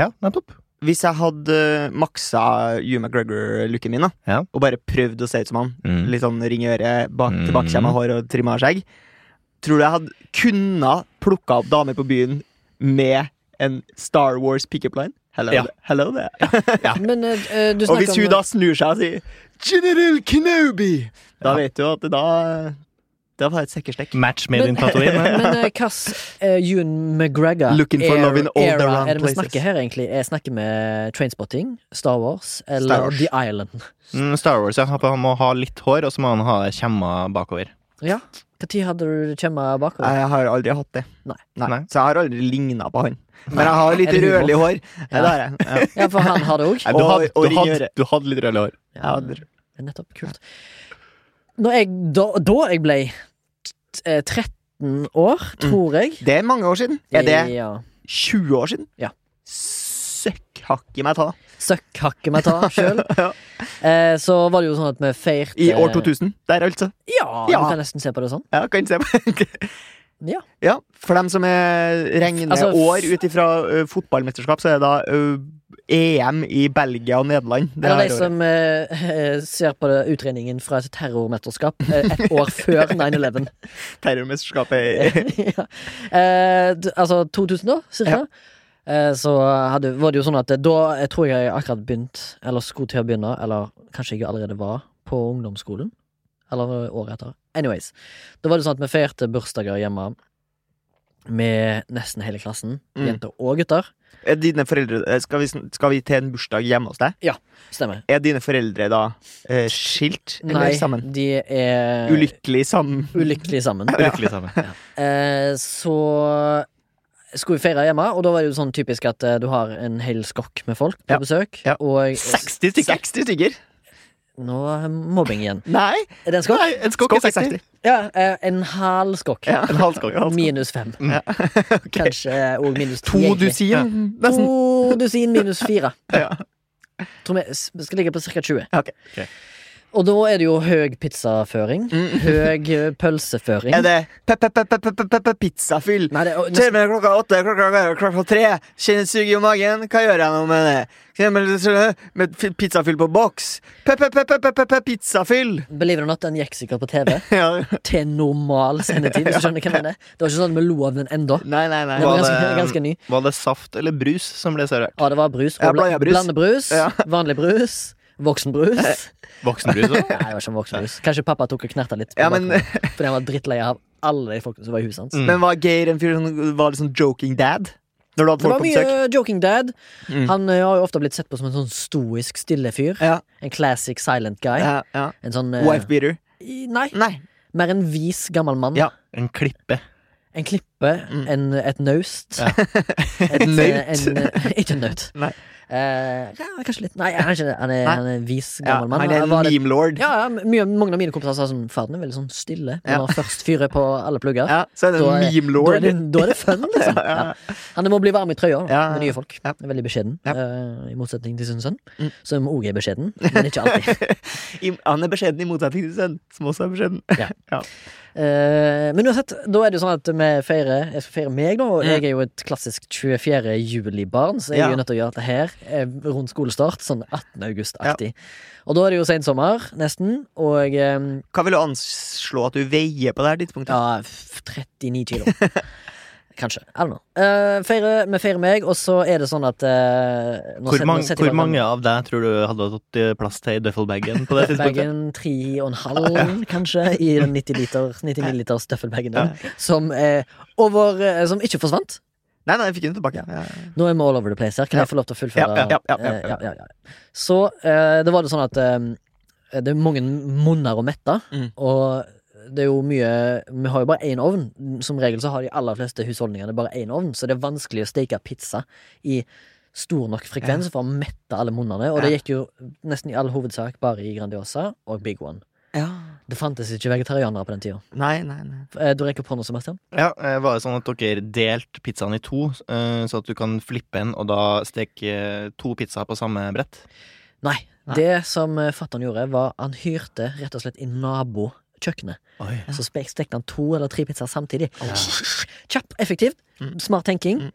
Ja, nettopp.
Hvis jeg hadde maksa Hugh McGregor-looken min, da,
Ja.
og bare prøvd å se ut som han,
Mm.
litt sånn ring i øret, bak,
Mm.
tilbakekjemma hår og trimma skjegg. Tror du jeg hadde kunna plukka opp damer på byen med en Star Wars pickup line? Hello,
Ja.
there. hello there.
Men eh, eh, du
Ah. Og
snakker
hvis hun
om
da snur seg og sier 'General Kenobi', da vet du at det da Da var det et sekkerstekk.
Match made
(laughs)
in Tatooine.
Men eh, hva uh, Ewan McGregor
Looking for love in all the
era
wrong
er det vi
places.
snakker her, egentlig? Jeg snakker med Trainspotting, Star Wars eller
Star Wars.
The Island.
(laughs) Mm, Star Wars, ja. Han må ha litt hår, og så må han ha kjemma bakover.
Ja. Når hadde du kjemma bakover?
Jeg har aldri hatt det.
Nei.
Nei.
Så jeg har aldri ligna på han. Men jeg har litt
Er det humor?
rødlig hår. Ja. Det har jeg. Ja.
Ja, for han
(laughs)
har det òg.
Nei, du,
Og-
hadde,
og
du,
ring i
hadde,
øret.
du hadde litt rødlig hår.
Jeg hadde
Det er Nettopp. Kult. Når jeg, da, da jeg ble t- eh, 13 år, tror jeg
Det er mange år siden. Er Mm. det
Ja.
20 år siden?
Ja.
Søkkhakk i meg ta.
Søkk hakket meg
(laughs)
ta sjøl.
Ja.
eh, så var det jo sånn at vi feirte
I år 2000. Der, altså.
Ja,
Ja.
Du kan nesten se på det sånn.
Ja, kan se på.
(laughs) Ja.
ja, for dem som er, regner
Altså, f-
år ut ifra ø, fotballmesterskap, så er det da ø, EM i Belgia og Nederland. Det
Eller de
her året.
som eh, (laughs) ser på det, utredningen fra et terrormesterskap eh, ett år før 9-11.
Terrormesterskapet
(laughs) ja. eh, d- altså 2000, da, cirka. Eh, så hadde, var det jo sånn at eh, da jeg tror jeg jeg akkurat begynt, eller skulle til å begynne, eller kanskje jeg allerede var, på ungdomsskolen. Eller var det året etter. Anyways. Da var det sånn at vi feirte bursdager hjemme med nesten hele klassen.
Mm.
Jenter og gutter.
(laughs) Er dine foreldre, eh, skal, vi, sn- skal vi til en bursdag hjemme hos deg?
Stemmer.
Er dine foreldre da eh, skilt?
Nei,
Eller sammen?
de er
Ulykkelig sammen?
ulykkelige
(laughs)
sammen.
Lykkelig sammen.
Eh, så skulle vi feire hjemme, og da var det jo sånn typisk at eh, du har en hel skokk med folk på
Ja.
besøk.
Ja.
Og
60 stykker? 60 stykker?
nå er mobbing igjen.
Nei!
Er det en skokk?
Nei, en skokk i 60.
Ja, eh, en halv skokk.
Ja. Mm.
En halv skokk.
Minus fem.
(laughs)
Ja.
Kanskje og minus ti.
To
egentlig.
dusin, nesten.
To dusin minus fire.
Ja.
Tror vi s- skal ligge på ca. 20.
Ok.
Ok.
Og da er det jo høy pizzaføring. Høy eh, pølseføring.
Mm. Er det pe-pe-pe-pe-pe-pe-pizzafyll?
Nei, det er,
Kjenner meg klokka åtte, klokka, klokka, klokka tre. Kjenner suget i magen. Hva gjør jeg nå med det? Kjenner meg- Med f- pizzafyll på boks.
(laughs)
Pe-pe-pe-pe-pe-pe-pizzafyll.
Believe it or not, den gikk sikkert på TV
Ja.
til normal
(laughs)
sendetid. Hvis du skjønner hva jeg mener Det var ikke sånn at vi lo av den enda
Nei, nei, nei.
Den var
Var
ganske,
det-
ganske ny.
(laughs) Var det saft eller brus som ble servert?
Ja, det var brus.
Ja,
Og bla
blandebrus.
blandebrus.
Ja.
Vanlig brus.
(laughs)
Voksenbrus. Nei,
Voksenbrus òg?
det var ikke voksenbrus. Kanskje pappa tok og knerta litt. på
Ja, men-
bakgrunnen, fordi han var drittlei av alle de folkene som var i huset hans.
Mm.
Men var Geir en fyr som var litt sånn joking dad? Når du hadde
Det
folk
var
på besøk?
mye joking dad.
Mm.
Han ø, har jo ofte blitt sett på som en sånn stoisk, stille fyr.
Ja.
En classic silent guy.
Ja, ja.
En sånn ø,
Wife beater?
i- Nei,
Nei.
mer en vis gammel mann.
Ja.
En klippe.
En klippe,
Mm.
en, et naust.
Ja.
(laughs)
(laughs)
Et eh,
naut?
en- Ikke en naut.
Nei.
Eh, ja, kanskje litt Nei, han er ikke det. Han er,
Nei.
han er en vis
Ja,
gammel mann.
han er en
var litt-
meme lord.
ja, ja, mye, mange av mine kompiser sa sånn Faren er veldig sånn stille. Men
Ja.
når han først fyrer på alle plugger,
Ja, så er det
da,
en
er, da,
meme
er
lord.
det, da er det fun, liksom.
Ja, (laughs) ja.
Ja. Han må bli varm i trøya da,
Ja, ja.
med nye folk.
Ja.
Er Veldig beskjeden,
Ja.
eh, i motsetning til sin sønn,
Mm.
som òg er
(laughs)
beskjeden, men ikke alltid.
I- Han er beskjeden i motsetning til sønnen, som også er beskjeden.
Eh, men uansett, da er det jo sånn at vi feirer Jeg skal feire meg, da. Og
Mm.
jeg er jo et klassisk 24. juli-barn, så jeg er
Ja.
jo nødt til å gjøre dette her eh, rundt skolestart, sånn 18. august-aktig. Og da er det jo sensommer, nesten, og eh,
Hva vil du anslå at du veier på det her tidspunktet?
Ja, f- 39
(laughs)
kilo. Kanskje. I don't know. Eh, feire, vi feirer meg, og så er det sånn at eh, nå
Hvor,
set- nå
mange-
setter jeg
hvor
i gang den-
mange av deg tror du hadde hatt eh, plass til i duffelbagen på det
(laughs)
tidspunktet?
Bagen tre og en
(laughs)
halv, kanskje, i den 90 liter, 90 milliliters døffelbagen din. Som, eh, over, eh, som ikke forsvant.
Nei, nei, jeg fikk den tilbake. Ja, ja.
Nå er vi all over the place her. Kan jeg få lov til å fullføre?
Ja, ja, ja, ja, ja.
Eh, ja. Så eh, det var det sånn at eh, det er mange munner å mette,
Mm.
og det er jo mye Vi har jo bare én ovn. Som regel så har de aller fleste husholdningene bare én ovn, så det er vanskelig å steke pizza i stor nok frekvens for å mette alle munnene, og det
Ja.
gikk jo nesten i all hovedsak bare i Grandiosa og Big One.
ja.
Det fantes ikke vegetarianere på den tida.
Nei, nei, nei.
Eh, Du rekker på nå, Sebastian?
Ja, eh, Var det sånn at dere delte pizzaen i to, eh, så at du kan flippe en og da steke eh, to pizzaer på samme brett?
Nei.
Nei.
Det som eh, fatter'n gjorde, var han hyrte rett og slett i nabokjøkkenet.
Oi.
Så spe- stekte han to eller tre pizzaer samtidig. (laughs) Kjapp, effektivt,
Mm.
smart tenking.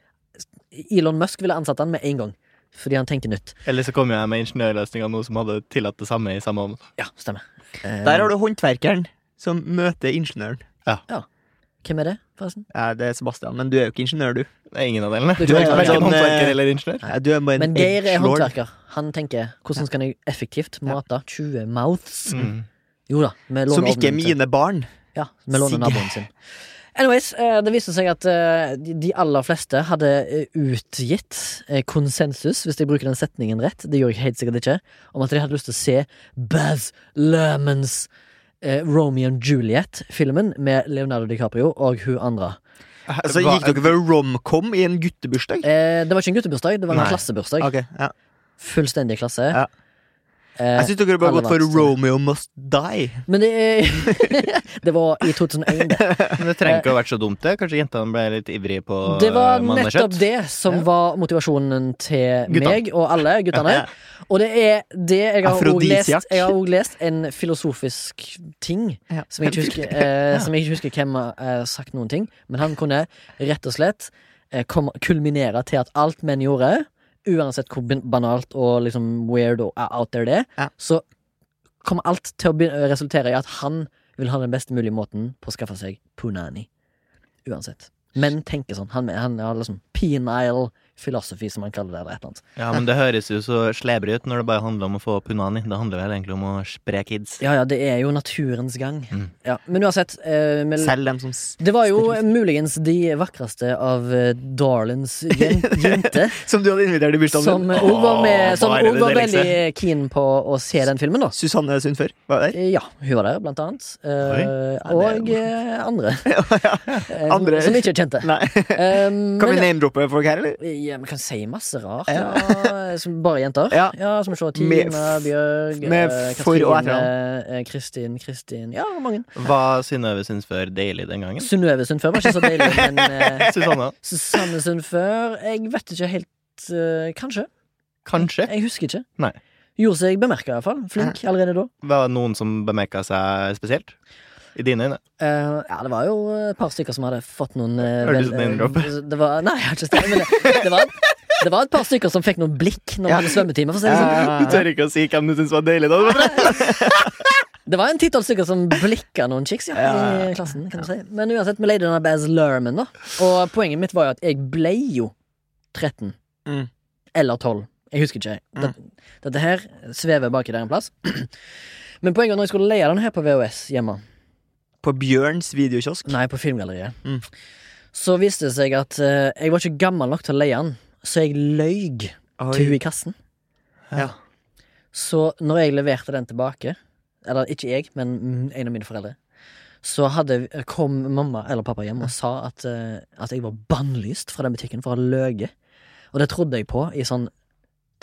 Elon Musk ville ansatt han med en gang, fordi han tenkte nytt.
Eller så kom jeg med ingeniørløsninga nå som hadde tillatt det samme i samme ovn.
Ja, stemmer.
Der har du håndverkeren som møter ingeniøren.
Eh, Hvem er det, forresten?
Ja, det er Sebastian, men du er jo ikke ingeniør, du.
Det er ingen av delene.
Du
Du
tror
er
ikke
verken
sånn, eh,
håndverker eller ingeniør.
Ja, du er bare en
Men Geir er
edgelord.
håndverker. Han tenker 'hvordan kan jeg effektivt mate 20 mouths'?
Mm.
Jo da, vi låner
Som ikke er
ovnen til-
mine barn.
Ja, vi låner
Sigge.
naboen sin. Anyways, eh, det viste seg at eh, de de aller fleste hadde eh, utgitt eh, konsensus, hvis jeg bruker den setningen rett, det gjør jeg helt sikkert ikke, om at de hadde lyst til å se Baz Lermans eh, Romeo and Juliet-filmen med Leonardo DiCaprio og hun andre.
Altså,
Hva-
gikk dere for romcom i en guttebursdag?
Eh, det var ikke en guttebursdag, det var en
Nei.
klassebursdag.
Ok, ja.
Fullstendig klasse.
Ja.
Eh,
Jeg syns dere burde
alle
gått for
valgte.
Romeo Must Die.
men det (laughs) Det var i 2001, det.
(laughs) Men det trenger ikke å ha vært så dumt, det. Kanskje jentene ble litt ivrige på eh,
Det var
mannekjøtt?
nettopp det som
Ja.
var motivasjonen til
Guttene.
meg og alle
(laughs)
guttene. Og det er det jeg har også lest.
Afrodisiak.
Jeg har også lest en filosofisk ting
Ja.
som jeg ikke husker, eh, som jeg ikke husker hvem har eh, sagt noen ting, men han kunne rett og slett eh, kom, kulminere til at alt menn gjorde, uansett hvor ban- banalt og liksom weird og out there det er,
Ja.
så kommer alt til å begyn- resultere i at han vil ha den best mulige måten på å skaffe seg punani. Uansett. Men tenker sånn. Han, han har liksom penile philosophy, som han kaller det. Eller et eller annet.
Ja, men det høres jo så slebrig ut når det bare handler om å få opp punani. Det handler vel egentlig om å spre kids.
Ja, ja, det er jo naturens gang.
Mm.
Ja. Men uansett eh, men-
Selv dem som s-
Det var jo muligens de vakreste av eh, Darlins
(laughs)
jen- jenter.
Som du hadde invitert i bursdagen
Som
din.
òg var, med,
Åh,
som
bare det liksom-
også var
deiligste.
veldig keen på å se den filmen, da.
Susanne Sundfør
(laughs)
var der.
Eh, Ja, hun var der, blant annet. Eh,
Oi. Ja,
og
det er
eh,
(laughs)
andre. Eh,
Andre.
Som ikke er kjente.
Nei.
Eh,
Kan vi
men,
name-droppe folk her, eller?
ja, vi kan si masse rart.
Ja.
Ja. Som bare jenter.
Ja.
Som å se
Med
Tina,
f-
Bjørg,
med
eh,
for- og
Katrine,
etternavn.
eh, Kristin, Kristin Ja, mange.
Var Synnøve Sundfør deilig den gangen?
Synnøve Sundfør var ikke så deilig, men eh,
Susanna?
Susanne Sundfør Jeg vet ikke helt eh, Kanskje.
Kanskje.
Jeg husker ikke.
Nei.
Gjorde seg bemerka, iallfall. Flink allerede da.
Var det noen som bemerka seg spesielt? I dine øyne?
Eh, ja, det var jo et par stykker som hadde fått noen eh,
Hørtes ut som en droppe.
eh, det var, Nei, jeg har ikke stemt, men det, det, var, det var et par stykker som fikk noen blikk når vi
Ja.
hadde svømmetime. For å si det, sånn.
Ja, ja, ja.
ikke å si hvem du syns var deilig, da?
det var en titall stykker som blikka noen chicks ja,
Ja.
i klassen. kan du si Men uansett, vi leide denne Baz Lerman, da. Og poenget mitt var jo at jeg ble jo 13.
Mm.
Eller 12. Jeg husker ikke. Dette, dette her svever baki der en plass. (clears throat) Men poenget var når jeg skulle leie den her på VHS hjemme
(laughs) På Bjørns videokiosk.
Nei, på Filmgalleriet.
Mm.
Så viste det seg at eh, jeg var ikke gammel nok til å leie den, så jeg løy til hun i kassen.
Ja.
Så når jeg leverte den tilbake, eller ikke jeg, men mm, en av mine foreldre, så hadde, kom mamma eller pappa hjem og sa at, eh, at jeg var bannlyst fra den butikken for å ha løyet. Og det trodde jeg på i sånn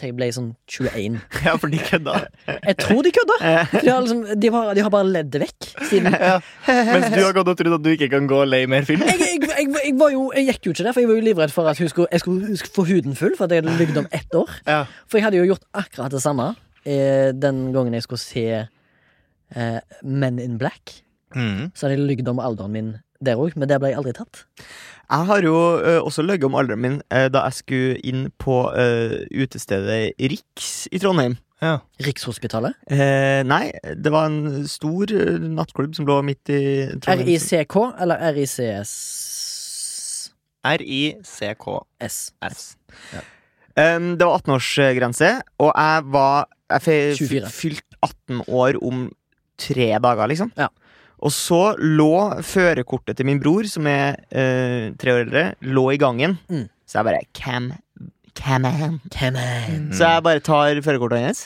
til jeg ble sånn 21.
(laughs) Ja, for de kødda.
Jeg tror de kødda!
Eh,
De har, liksom, de har, de har bare ledd det vekk siden.
Ja. (laughs) Mens du har gått og trodd at du ikke kan gå og leie mer film?
jeg, jeg, jeg, jeg, var jo, jeg gikk jo ikke der, for jeg var jo livredd for at hun skulle, jeg skulle, hun skulle få huden full. For at jeg hadde lygd om ett år
Ja.
For jeg hadde jo gjort akkurat det samme eh, den gangen jeg skulle se eh, Men in Black.
Mm.
Så hadde jeg lygd om alderen min der òg, men der ble jeg aldri tatt.
Jeg har jo ø, også løyet om alderen min ø, da jeg skulle inn på ø, utestedet Riks i Trondheim.
Ja.
Rikshospitalet.
Eh, nei, det var en stor ø, nattklubb som lå midt i Trondheim.
RICK eller RICS?
R-I-C-K-S.
Em, det var 18-årsgrense, og jeg var Jeg fe-
24.
fylte 18 år om tre dager, liksom.
Ja.
Og så lå førerkortet til min bror, som er ø, tre år eldre, lå i gangen.
Mm.
Så jeg bare Cam, cam on.
Come on.
Så jeg bare tar førerkortet hans.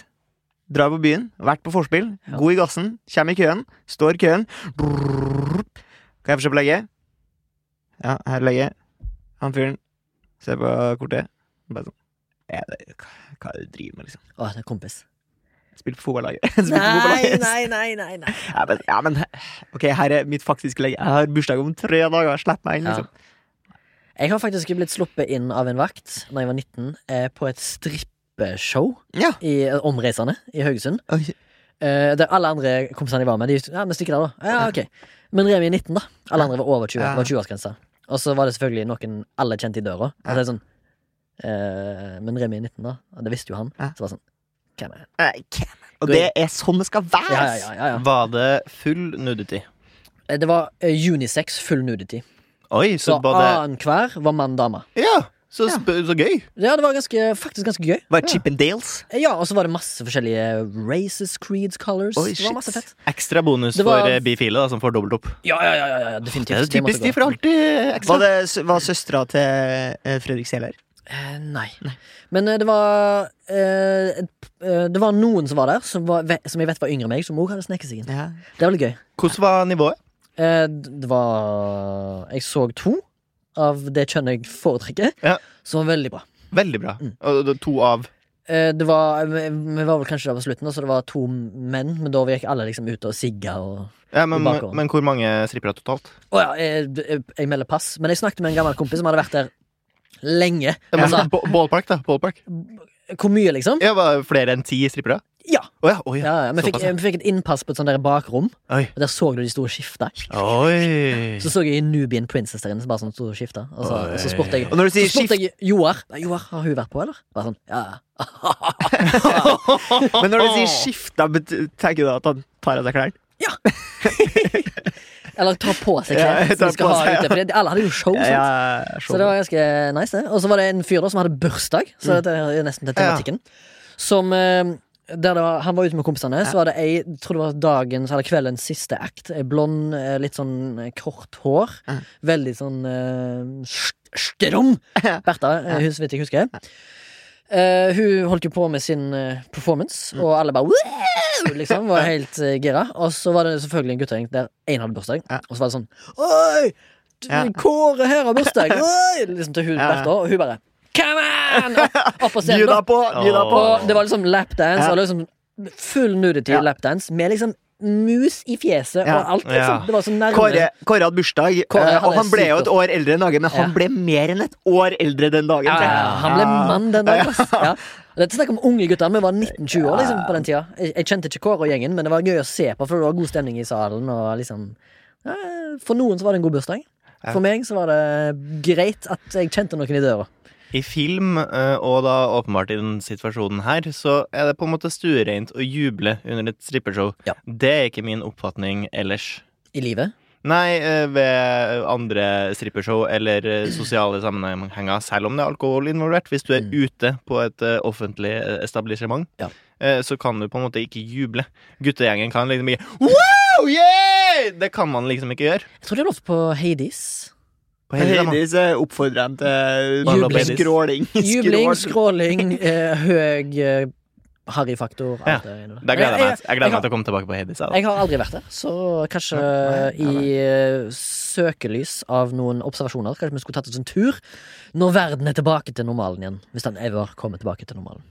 Drar på byen, vært på forspill,
Ja.
god i gassen, kommer i køen, står i køen. Brrrr. Kan jeg få se på legget? Ja, her er legget. Han fyren ser på kortet. Bare sånn er det, hva- Hva er det du driver med, liksom?
Å, det er kompis.
Spilte på fotballaget. (laughs) Spilte på
Nei,
fotballaget.
nei, nei, nei. nei.
Ja, men, ja, men ok, her er mitt faktiske legge. Jeg har bursdag om tre dager, slipp meg inn,
Ja.
liksom.
Jeg har faktisk blitt sluppet inn av en vakt Når jeg var 19 eh, På et strippeshow
Ja.
i, eh, Omreisende i Haugesund
Oi.
eh, Der alle andre kompisene jeg var med De ja, men stikker der da Ja, ok Men Remi er 19 da Alle andre var over 20
Ja.
Det var 20-årsgrensa Og så var det selvfølgelig noen Alle kjente i døra Og så er det sånn eh, Men Remi er 19 da Og Det visste jo han
Ja.
Så var det sånn Hvem er han?
Nei, hvem? Og det er sånn det skal være!
Ja, ja, ja, ja,
Var det full nudity?
ja. Eh, Det var eh, unisex full nudity
Oi, så
Så
både
annen hver var mann-dama
Ja! Så, sp så gøy.
Ja, det var ganske, faktisk ganske gøy
Bare Chip and Dales.
Ja, og så var det masse forskjellige races, creeds, colors.
Oi,
det var
shit.
masse fett.
Ekstra bonus
Det var-
for eh, bifile, da, som får dobbelt opp.
Ja, ja, ja, ja, ja definitivt.
Det er jo
måtte
typisk, de
gå.
får alltid ekstra.
Var, det, s- var søstera til eh, Fredrik Seler?
Eh, nei. Men eh, det var eh, et- eh, Det var noen som var der, som, var, ve- som jeg vet var yngre enn meg, som òg hadde sneket seg inn.
Ja.
Det var litt gøy.
Hvordan var nivået?
Eh, det var Jeg så to av det kjønnet jeg foretrekker,
Ja.
som var veldig bra.
Veldig bra. Og det- to av
Eh, det var, vi vi var vel kanskje der på slutten, så det var to menn, men da gikk alle liksom ut og sigga og
ja, men,
I bakhånd.
men hvor mange strippere totalt?
Å ja, jeg, jeg, jeg melder pass. Men jeg snakket med en gammel kompis som hadde vært der lenge.
Ja,
Han sa
men, ba- ballpark, da. Ballpark.
hvor mye, liksom.
Ja, var det flere enn ti strippere?
Ja.
Å ja. Oi, ja.
ja, ja. Vi, fikk,
Såpass, ja.
vi fikk et innpass på et sånt der bakrom,
Oi.
og der så du de store skifta.
Oi.
Så så jeg Nubian Princess der inne, som bare sånn store skifta. Og så,
Oi.
og så spurte jeg
Og når du
så
sier
spurte
skift,
jeg Joar. «Nei, Joar, har hun vært på, eller? Bare sånn, ja, ja.
men når du sier skift, da bet- tenker du at han tar av seg klærne?
Eller ta på seg
Ja,
klær.
jeg
som
tar
de skal
på
ha
seg, ja.
ute, for det- alle hadde jo show. Oh, Sant?
Ja,
Så det var ganske nice, det. Og så var det en fyr da som hadde bursdag, så dette er nesten til tematikken. Som eh, der det var, Han var ute med kompisene, så var det ei jeg tror det var dagens eller kveldens siste act. Ei blond, eh, litt sånn eh, kort hår.
Ja.
Veldig sånn eh, st- strom! Bertha, eh, hun så vidt jeg husker. Eh, hun holdt jo på med sin eh, performance,
Mm.
og alle bare «Wow!» liksom, var helt eh, gira. Og så var det selvfølgelig en guttegjeng der én hadde bursdag,
Ja.
og så var det sånn Oi! Du,
Ja.
Kåre her har
(laughs)
bursdag! Oi! Liksom til hun
Ja.
Bertha, og hun bare Come on! Opp, opp på
Gi
scenen.
deg
da.
på! Gi deg på!
Og det var liksom lapdance,
Ja.
og liksom full nudity
Ja.
lapdance, med liksom mus i fjeset
Ja.
og alt, liksom.
Ja.
Det var så nærme.
Kåre, Kåre hadde bursdag,
Kåre
eh,
hadde
og han ble jo
sykt
et år eldre enn Hage, men han
Ja.
ble mer enn et år eldre den dagen.
Ja, ja, ja. han ble
Ja.
mann den dagen. ass. Ja. Og Dette er snakk om unge gutter. Vi var 19-20 år liksom, på den tida. Jeg, jeg kjente ikke Kåre og gjengen, men det var gøy å se på, for det var god stemning i salen. Og liksom, ja, for noen så var det en god bursdag. For meg så var det greit at jeg kjente noen i døra.
I film, eh, og da åpenbart i den situasjonen her, så er det på en måte stuereint å juble under et strippershow.
Ja.
Det er ikke min oppfatning ellers.
I livet.
Nei, eh, ved andre strippershow eller eh, sosiale sammenhenger, selv om det er alkohol involvert. Hvis du er
Mm.
ute på et eh, offentlig eh, establishment,
Ja.
eh, så kan du på en måte ikke juble. Guttegjengen kan liksom ikke Wow, yeah! Det kan man liksom ikke gjøre.
Jeg tror det er lov på Hades.
På hele rammen.
Hades eh, oppfordrer han til
Jubling.
Bare skråling.
Jubling,
Skrål.
skråling, eh, høy eh, harryfaktor.
Ja.
alt det inne der.
Da gleder jeg meg, jeg gleder
jeg
meg til å komme tilbake på Hades. jeg, da.
Jeg har aldri vært der, så kanskje
Nei, nei, nei.
i eh, søkelys av noen observasjoner Kanskje vi skulle tatt oss en sånn tur når verden er tilbake til normalen igjen. Hvis den ever kommer tilbake til normalen.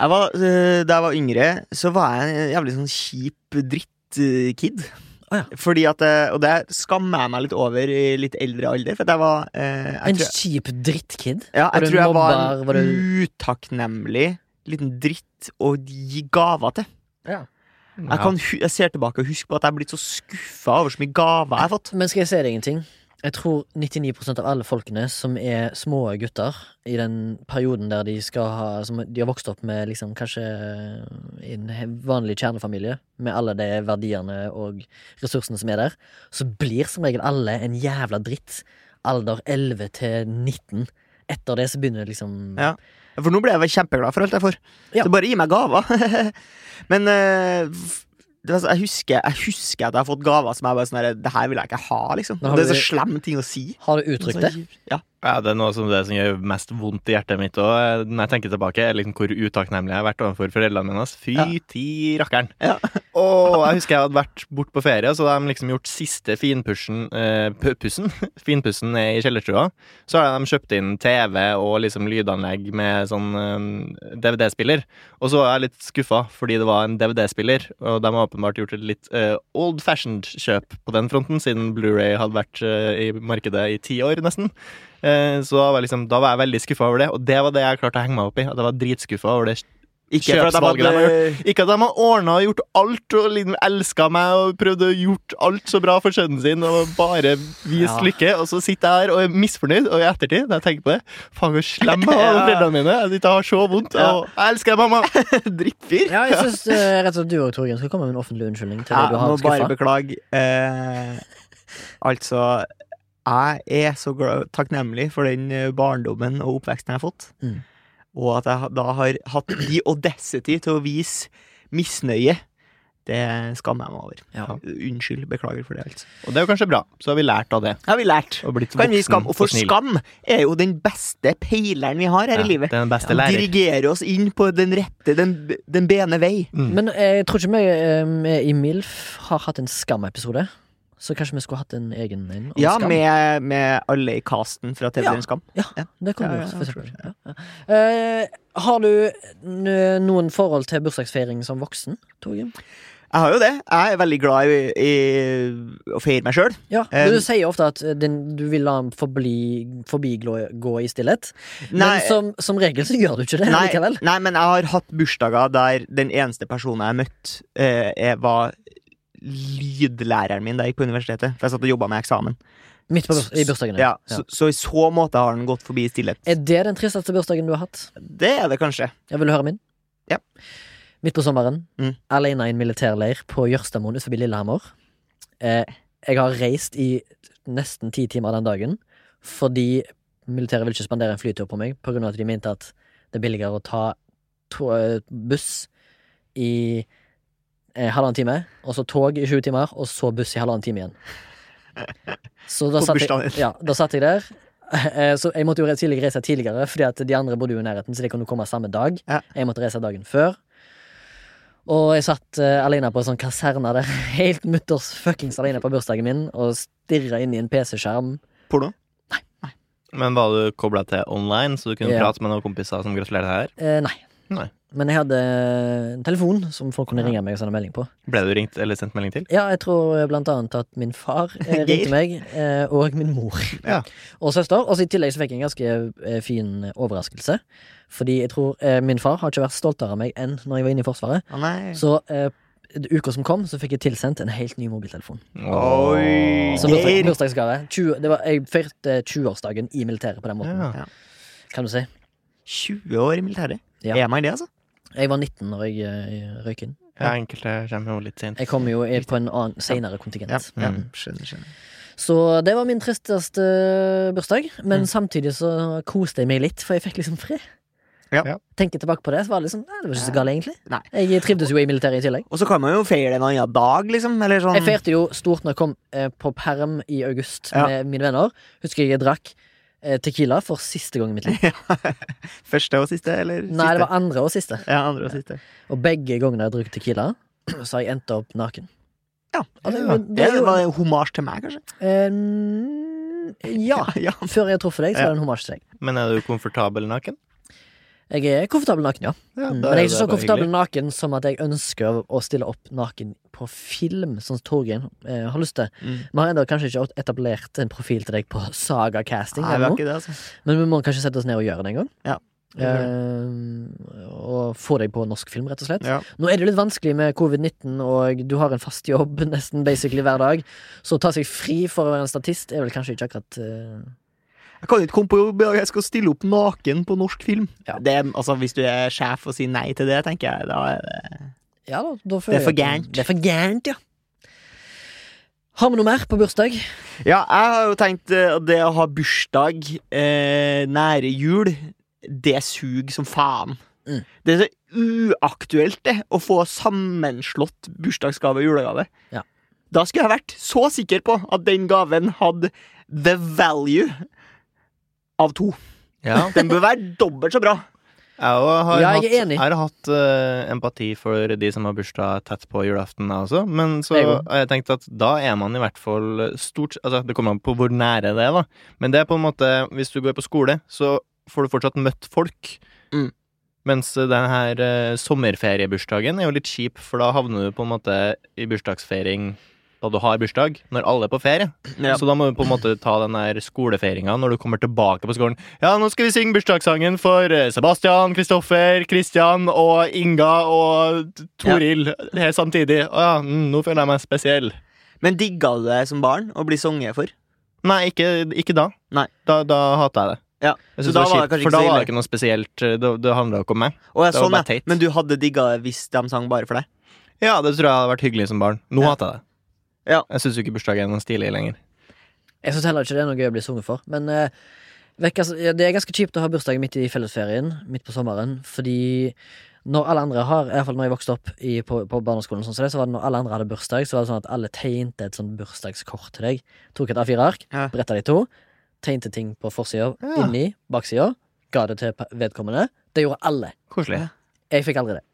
Jeg var, eh, da jeg var yngre, så var jeg en jævlig sånn kjip drittkid.
Å ja.
Fordi at, eh, Og det skammer jeg meg litt over i litt eldre alder, for at jeg var eh, jeg
En
tror,
kjip drittkid.
ja,
var du
jeg, tror jeg var
mobbar,
en
var du-
utakknemlig liten dritt å gi gaver til. Jeg, kan, hu- jeg ser tilbake og husker på at jeg er blitt så skuffa over så mye gaver jeg har fått.
Men skal jeg si deg en ting? Jeg tror 99 av alle folkene som er små gutter i den perioden der de skal ha Som de har vokst opp med liksom kanskje i en he- vanlig kjernefamilie, med alle de verdiene og ressursene som er der, så blir som regel alle en jævla dritt alder 11 til 19. Etter det så begynner det liksom
Ja. For nå ble jeg vel kjempeglad for alt jeg får.
Ja.
Så bare gi meg gaver. (laughs) Men eh, f- det var så- jeg, husker, jeg husker at jeg har fått gaver som jeg bare sånn her, Det her vil jeg ikke ha, liksom.
Men har
Det er
du-
så slem ting å si.
Har du uttrykt det?
Ja.
Ja, det er noe som det som gjør mest vondt i hjertet mitt òg, når jeg tenker tilbake, er liksom hvor utakknemlig jeg har vært overfor foreldrene mine. ass. Fy
Ja.
ti rakkeren.
Ja.
(laughs) Og jeg husker jeg hadde vært bort på ferie, så da har de liksom gjort siste finpussen eh, pu- pussen, (laughs) finpussen ned i kjellerstua. Så har de kjøpt inn TV og liksom lydanlegg med sånn eh, DVD-spiller. Og så var jeg litt skuffa fordi det var en DVD-spiller, og de har åpenbart gjort et litt eh, old fashioned kjøp på den fronten, siden Blu-ray hadde vært eh, i markedet i ti år, nesten. Eh, så da var, jeg liksom, da var jeg veldig skuffa over det, og det var det jeg klarte å henge meg opp i. At jeg var dritskuffa over det.
Ikke for at jeg
Kjøpsvalget de
hadde
har Ikke at de har ordna og gjort alt og liksom elska meg og prøvd å gjort alt så bra for sønnen sin og bare vist
Ja.
lykke, og så sitter jeg her og er misfornøyd, og i ettertid, når jeg tenker på det Faen, hvor
(laughs)
slem jeg var med foreldrene mine. Jeg sitter og har så vondt, og jeg elsker deg, mamma.
(laughs) drittfyr.
Ja, jeg syns rett og slett du og Torgen skal komme med en offentlig unnskyldning til det
Jeg
du
må
har
bare
skuffa.
beklage. Eh, altså Jeg er så glad, takknemlig for den eh, barndommen og oppveksten jeg har fått.
Mm.
Og at jeg ha- da har hatt the audacity til å vise misnøye. Det skammer jeg meg over.
Ja.
Unnskyld. Beklager for det, altså.
Og det er jo kanskje bra. Så har vi lært av det.
Har vi lært.
Og blitt
Kan vi
voksen
skam, og for
og snill.
skam er jo den beste peileren vi har her
Ja,
i livet.
Det er den beste
Den
lærer.
dirigerer oss inn på den rette, den, den bene vei.
Mm.
Men jeg tror ikke vi eh, vi i MILF har hatt en skamepisode. Så kanskje vi skulle hatt en egen en om
Ja,
skam.
med, med alle i casten fra TV-serien
Ja.
Skam.
Det kunne vi
Ja, ja,
gjort, for eksempel.
jeg
Ja, ja. Eh, har du n- noen forhold til bursdagsfeiring som voksen, Torgrim?
Jeg har jo det. Jeg er veldig glad i, i å feire meg sjøl.
Ja,
Eh,
du sier jo ofte at eh, din, du vil la den forbli- forbigå gå i stillhet.
Nei, eh,
Men som, som regel så gjør du ikke det
nei,
likevel.
nei, men jeg har hatt bursdager der den eneste personen jeg møtte, eh, jeg var lydlæreren min da jeg gikk på universitetet. For jeg satt og jobba med eksamen.
Midt på burs i bursdagen.
Ja, så, så i så måte har den gått forbi i stillhet.
Er det den tristeste bursdagen du har hatt?
Det er det kanskje.
Jeg vil høre min.
Ja.
Midt på sommeren,
Mm.
alene i en militærleir på Jørstadmoen utenfor Lillehammer. Eh, jeg har reist i nesten ti timer den dagen fordi militæret vil ikke spandere en flytur på meg på grunn av at de mente at det er billigere å ta to, eh, buss i eh, halvannen time, og så tog i sju timer, og så buss i halvannen
(laughs)
time igjen. Så da
På
satt
bursdagen
jeg,
din.
ja, da satt jeg der. Eh, Så jeg måtte jo re- tidlig reise tidligere, fordi at de andre bodde jo i nærheten, så de kunne komme samme dag.
Ja.
Jeg måtte reise dagen før. Og jeg satt eh, alene på en sånn kaserne der, (laughs) helt mutters fuckings alene på bursdagen min, og stirra inn i en PC-skjerm.
Porno? Men var du kobla til online, så du kunne
Ja.
prate med noen kompiser som gratulerte her?
Eh, nei.
Nei.
Men jeg hadde en telefon som folk kunne
Ja.
ringe meg og sende melding på.
Ble du ringt eller sendt melding til?
Ja, jeg tror eh, blant annet at min far
(laughs)
eh,
Geir.
ringte meg, eh, og min mor.
Ja.
Og søster. Og så i tillegg så fikk jeg en ganske eh, fin overraskelse. Fordi jeg tror eh, min far har ikke vært stoltere av meg enn når jeg var inne i Forsvaret.
Å nei.
Så eh, uka som kom, så fikk jeg tilsendt en helt ny mobiltelefon.
Oi.
Som
Geir.
bursdag- bursdagsgave. 20 det var- Jeg feirte 20-årsdagen i militæret på den måten,
Ja.
kan du si.
20 år i militæret.
Ja.
Er man det, altså?
Jeg var 19 når jeg eh, røyk inn.
Ja, enkelte kommer jo litt sent.
Jeg kom jo i- på en annen, senere kontingent.
ja.
Mm.
Skjønner, skjønner.
Så det var min tristeste bursdag, men
Mm.
samtidig så koste jeg meg litt, for jeg fikk liksom fred.
Ja.
Ja.
Tenker tilbake på det, så var det liksom Nei, det var ikke så galt, egentlig.
Nei.
Jeg trivdes jo i militæret i tillegg.
Og så kan man jo feire en annen dag, liksom. Eller sånn.
Jeg feirte jo stort når jeg kom eh, på perm i august
Ja.
med mine venner. Husker jeg jeg drakk eh, Tequila for siste gang i mitt
(laughs)
liv.
Første og siste, eller
Nei,
siste?
det var andre og siste.
Ja, andre og siste.
Og begge gangene jeg drukket Tequila, (clears throat) så har jeg endt opp naken.
Ja.
Altså,
Ja.
det
Det
er jo-
var en hommage til meg, kanskje.
Eh, ja.
(laughs) ja.
Før jeg har truffet deg, så er det en hommage til deg.
Men er du komfortabel naken?
Jeg er komfortabel naken, ja.
Ja,
Mm, Men
da
jeg er
det
ikke så
bare
komfortabel
hyggelig.
naken som at jeg ønsker å stille opp naken på film, sånn som Torgeir eh, har lyst til.
Mm.
Vi har ennå kanskje ikke etablert en profil til deg på Saga Casting,
Nei, det
eller
var
noe.
ikke det, altså. Eh,
men vi må kanskje sette oss ned og gjøre det en gang.
Ja.
Eh, og få deg på norsk film, rett og slett.
Ja.
Nå er det jo litt vanskelig med covid-19, og du har en fast jobb (laughs) nesten basically hver dag, så å ta seg fri for å være en statist er vel kanskje ikke akkurat eh,
Jeg kan ikke komme på jobb, jeg skal stille opp naken på norsk film.
Ja.
Det, altså, hvis du er sjef og sier nei til det, tenker jeg, da er det
Ja da, da
Det
føler
er for
jeg at-
gærent.
Det er for gærent, ja. Har vi noe mer på bursdag?
Ja, jeg har jo tenkt eh, at det å ha bursdag eh, nære jul, det suger som faen.
Mm.
Det er så uaktuelt, det, å få sammenslått bursdagsgave og julegave.
Ja.
Da skulle jeg vært så sikker på at den gaven hadde the value av to.
Ja.
Den bør være dobbelt så bra. (laughs)
Jeg òg har,
Ja, jeg er
hatt,
enig.
har hatt eh, empati for de som har bursdag tett på julaften, jeg også. Men så
Jeg òg.
har jeg tenkt at da er man i hvert fall stort Altså, det kommer an på hvor nære det er, da. Men det er på en måte Hvis du går på skole, så får du fortsatt møtt folk.
Mm.
Mens den her eh, sommerferiebursdagen er jo litt kjip, for da havner du på en måte i bursdagsfeiring da du har bursdag, når alle er på ferie.
Ja.
Så da må du på en måte ta den der skolefeiringa når du kommer tilbake på skolen. Ja, nå skal vi synge bursdagssangen for eh, Sebastian, Kristoffer, Kristian og Inga og T- Toril helt samtidig. Å ja, mm, nå føler jeg meg spesiell.
Men digga du det som barn å bli sunget for?
Nei, ikke, ikke da.
Nei.
Da, da hata jeg det.
Ja, så
Jeg synes
da
det
var
var
det
kjipt,
kanskje
for
ikke så
da var det
ille.
ikke noe spesielt. eh, Det, det handla ikke om
Å,
meg.
ja,
Det var
sånn,
bare
ja.
teit.
Men du hadde digga det hvis de sang bare for deg?
Ja, det tror jeg hadde vært hyggelig som barn. Nå
Ja.
hater jeg det.
Ja.
Jeg syns jo ikke bursdag er noe stilig lenger.
Jeg syns heller ikke det er noe gøy å bli sunget for. Men eh, vekk, altså, ja, det er ganske kjipt å ha bursdag midt i fellesferien, midt på sommeren, fordi når alle andre har, i hvert fall når jeg vokste opp i, på, på barneskolen, sånn som det, så var det når alle andre hadde bursdag, så var det sånn at alle tegnte et sånn bursdagskort til deg. Tok et A4-ark,
Ja.
bretta det i to, tegnte ting på forsida,
Ja.
inni, baksida, ga det til pe- vedkommende. Det gjorde alle.
Koselig.
Jeg fikk aldri det.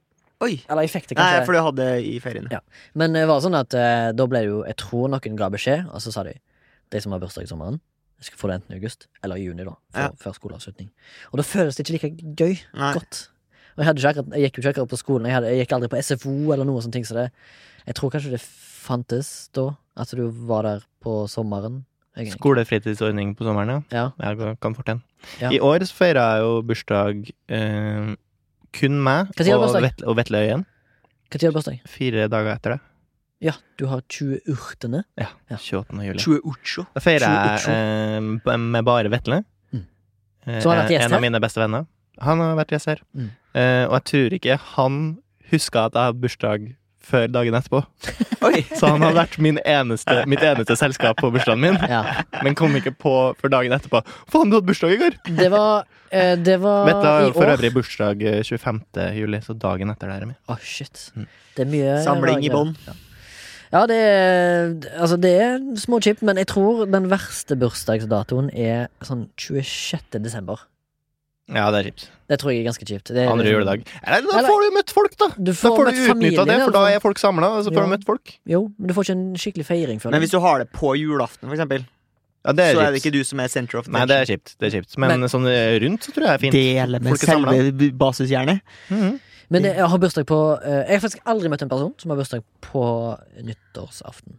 Oi.
Eller jeg fikk det
Nei,
kanskje.
for du hadde i ferien.
Ja. Men det var sånn at eh, da ble det jo Jeg tror noen ga beskjed, og så sa de de som har bursdag i sommeren, de skal få det enten i august eller i juni, da, før,
Ja.
før skoleavslutning. Og da føles det ikke like gøy.
Nei.
Godt. Og jeg, hadde ikke akkurat, jeg gikk jo ikke akkurat på skolen, jeg, hadde, jeg gikk aldri på SFO eller noe sånt. ting, Så det, jeg tror kanskje det fantes da, at du var der på sommeren. Jeg,
Skolefritidsordning på sommeren, ja.
ja.
Jeg kan fort den.
Ja.
I år så feirer jeg jo bursdag eh, kun meg
Hva tid er
og,
bursdag?
Vet, og Vetle Øyen.
Når har du bursdag?
Fire dager etter det.
Ja, du har 20 urtene.
Ja,
Ja.
28. juli.
Chueocho.
Da feirer
tjue-
jeg eh, b- med bare Vetle.
Mm.
Eh,
Så har han vært gjest
en
her?
av mine beste venner. Han har vært gjest her.
Mm.
Eh, og jeg tror ikke han huska at jeg hadde bursdag før dagen etterpå.
Oi!
Så han hadde vært min eneste, mitt eneste selskap på bursdagen min,
Ja.
men kom ikke på før dagen etterpå. Faen, du hadde bursdag i går!
Det var, eh, det var
Mette har
i
jo for
år.
øvrig bursdag eh, 25. juli, så dagen etter det er min.
Å, shit. Det er mye
(laughs) Samling i
rare.
bånn.
Ja, det er, altså det er små chip, men jeg tror den verste bursdagsdatoen er sånn 26. desember.
Ja, det er kjipt.
Det tror jeg er ganske kjipt. Det er
Andre
liksom-
juledag. Eller, da
Eller-
får du møtt folk, da!
Du
Da
får,
får
møtt
du utnytta
familien
det,
din,
for da
altså.
er folk samla, og så får
Ja.
du møtt folk.
Jo, men du får ikke en skikkelig feiring, føler
Men
jeg.
hvis du har det på julaften, for eksempel,
Ja, det er
så er det
kjipt.
ikke du som er center of
Nei, det er kjipt. Det er kjipt. Men,
Men-
sånn eh, rundt så tror jeg er fint.
Dele med
Folk er samlet.
selve b- basisjernet.
Mhm.
Men jeg har bursdag på eh, Jeg har faktisk aldri møtt en person som har bursdag på nyttårsaften.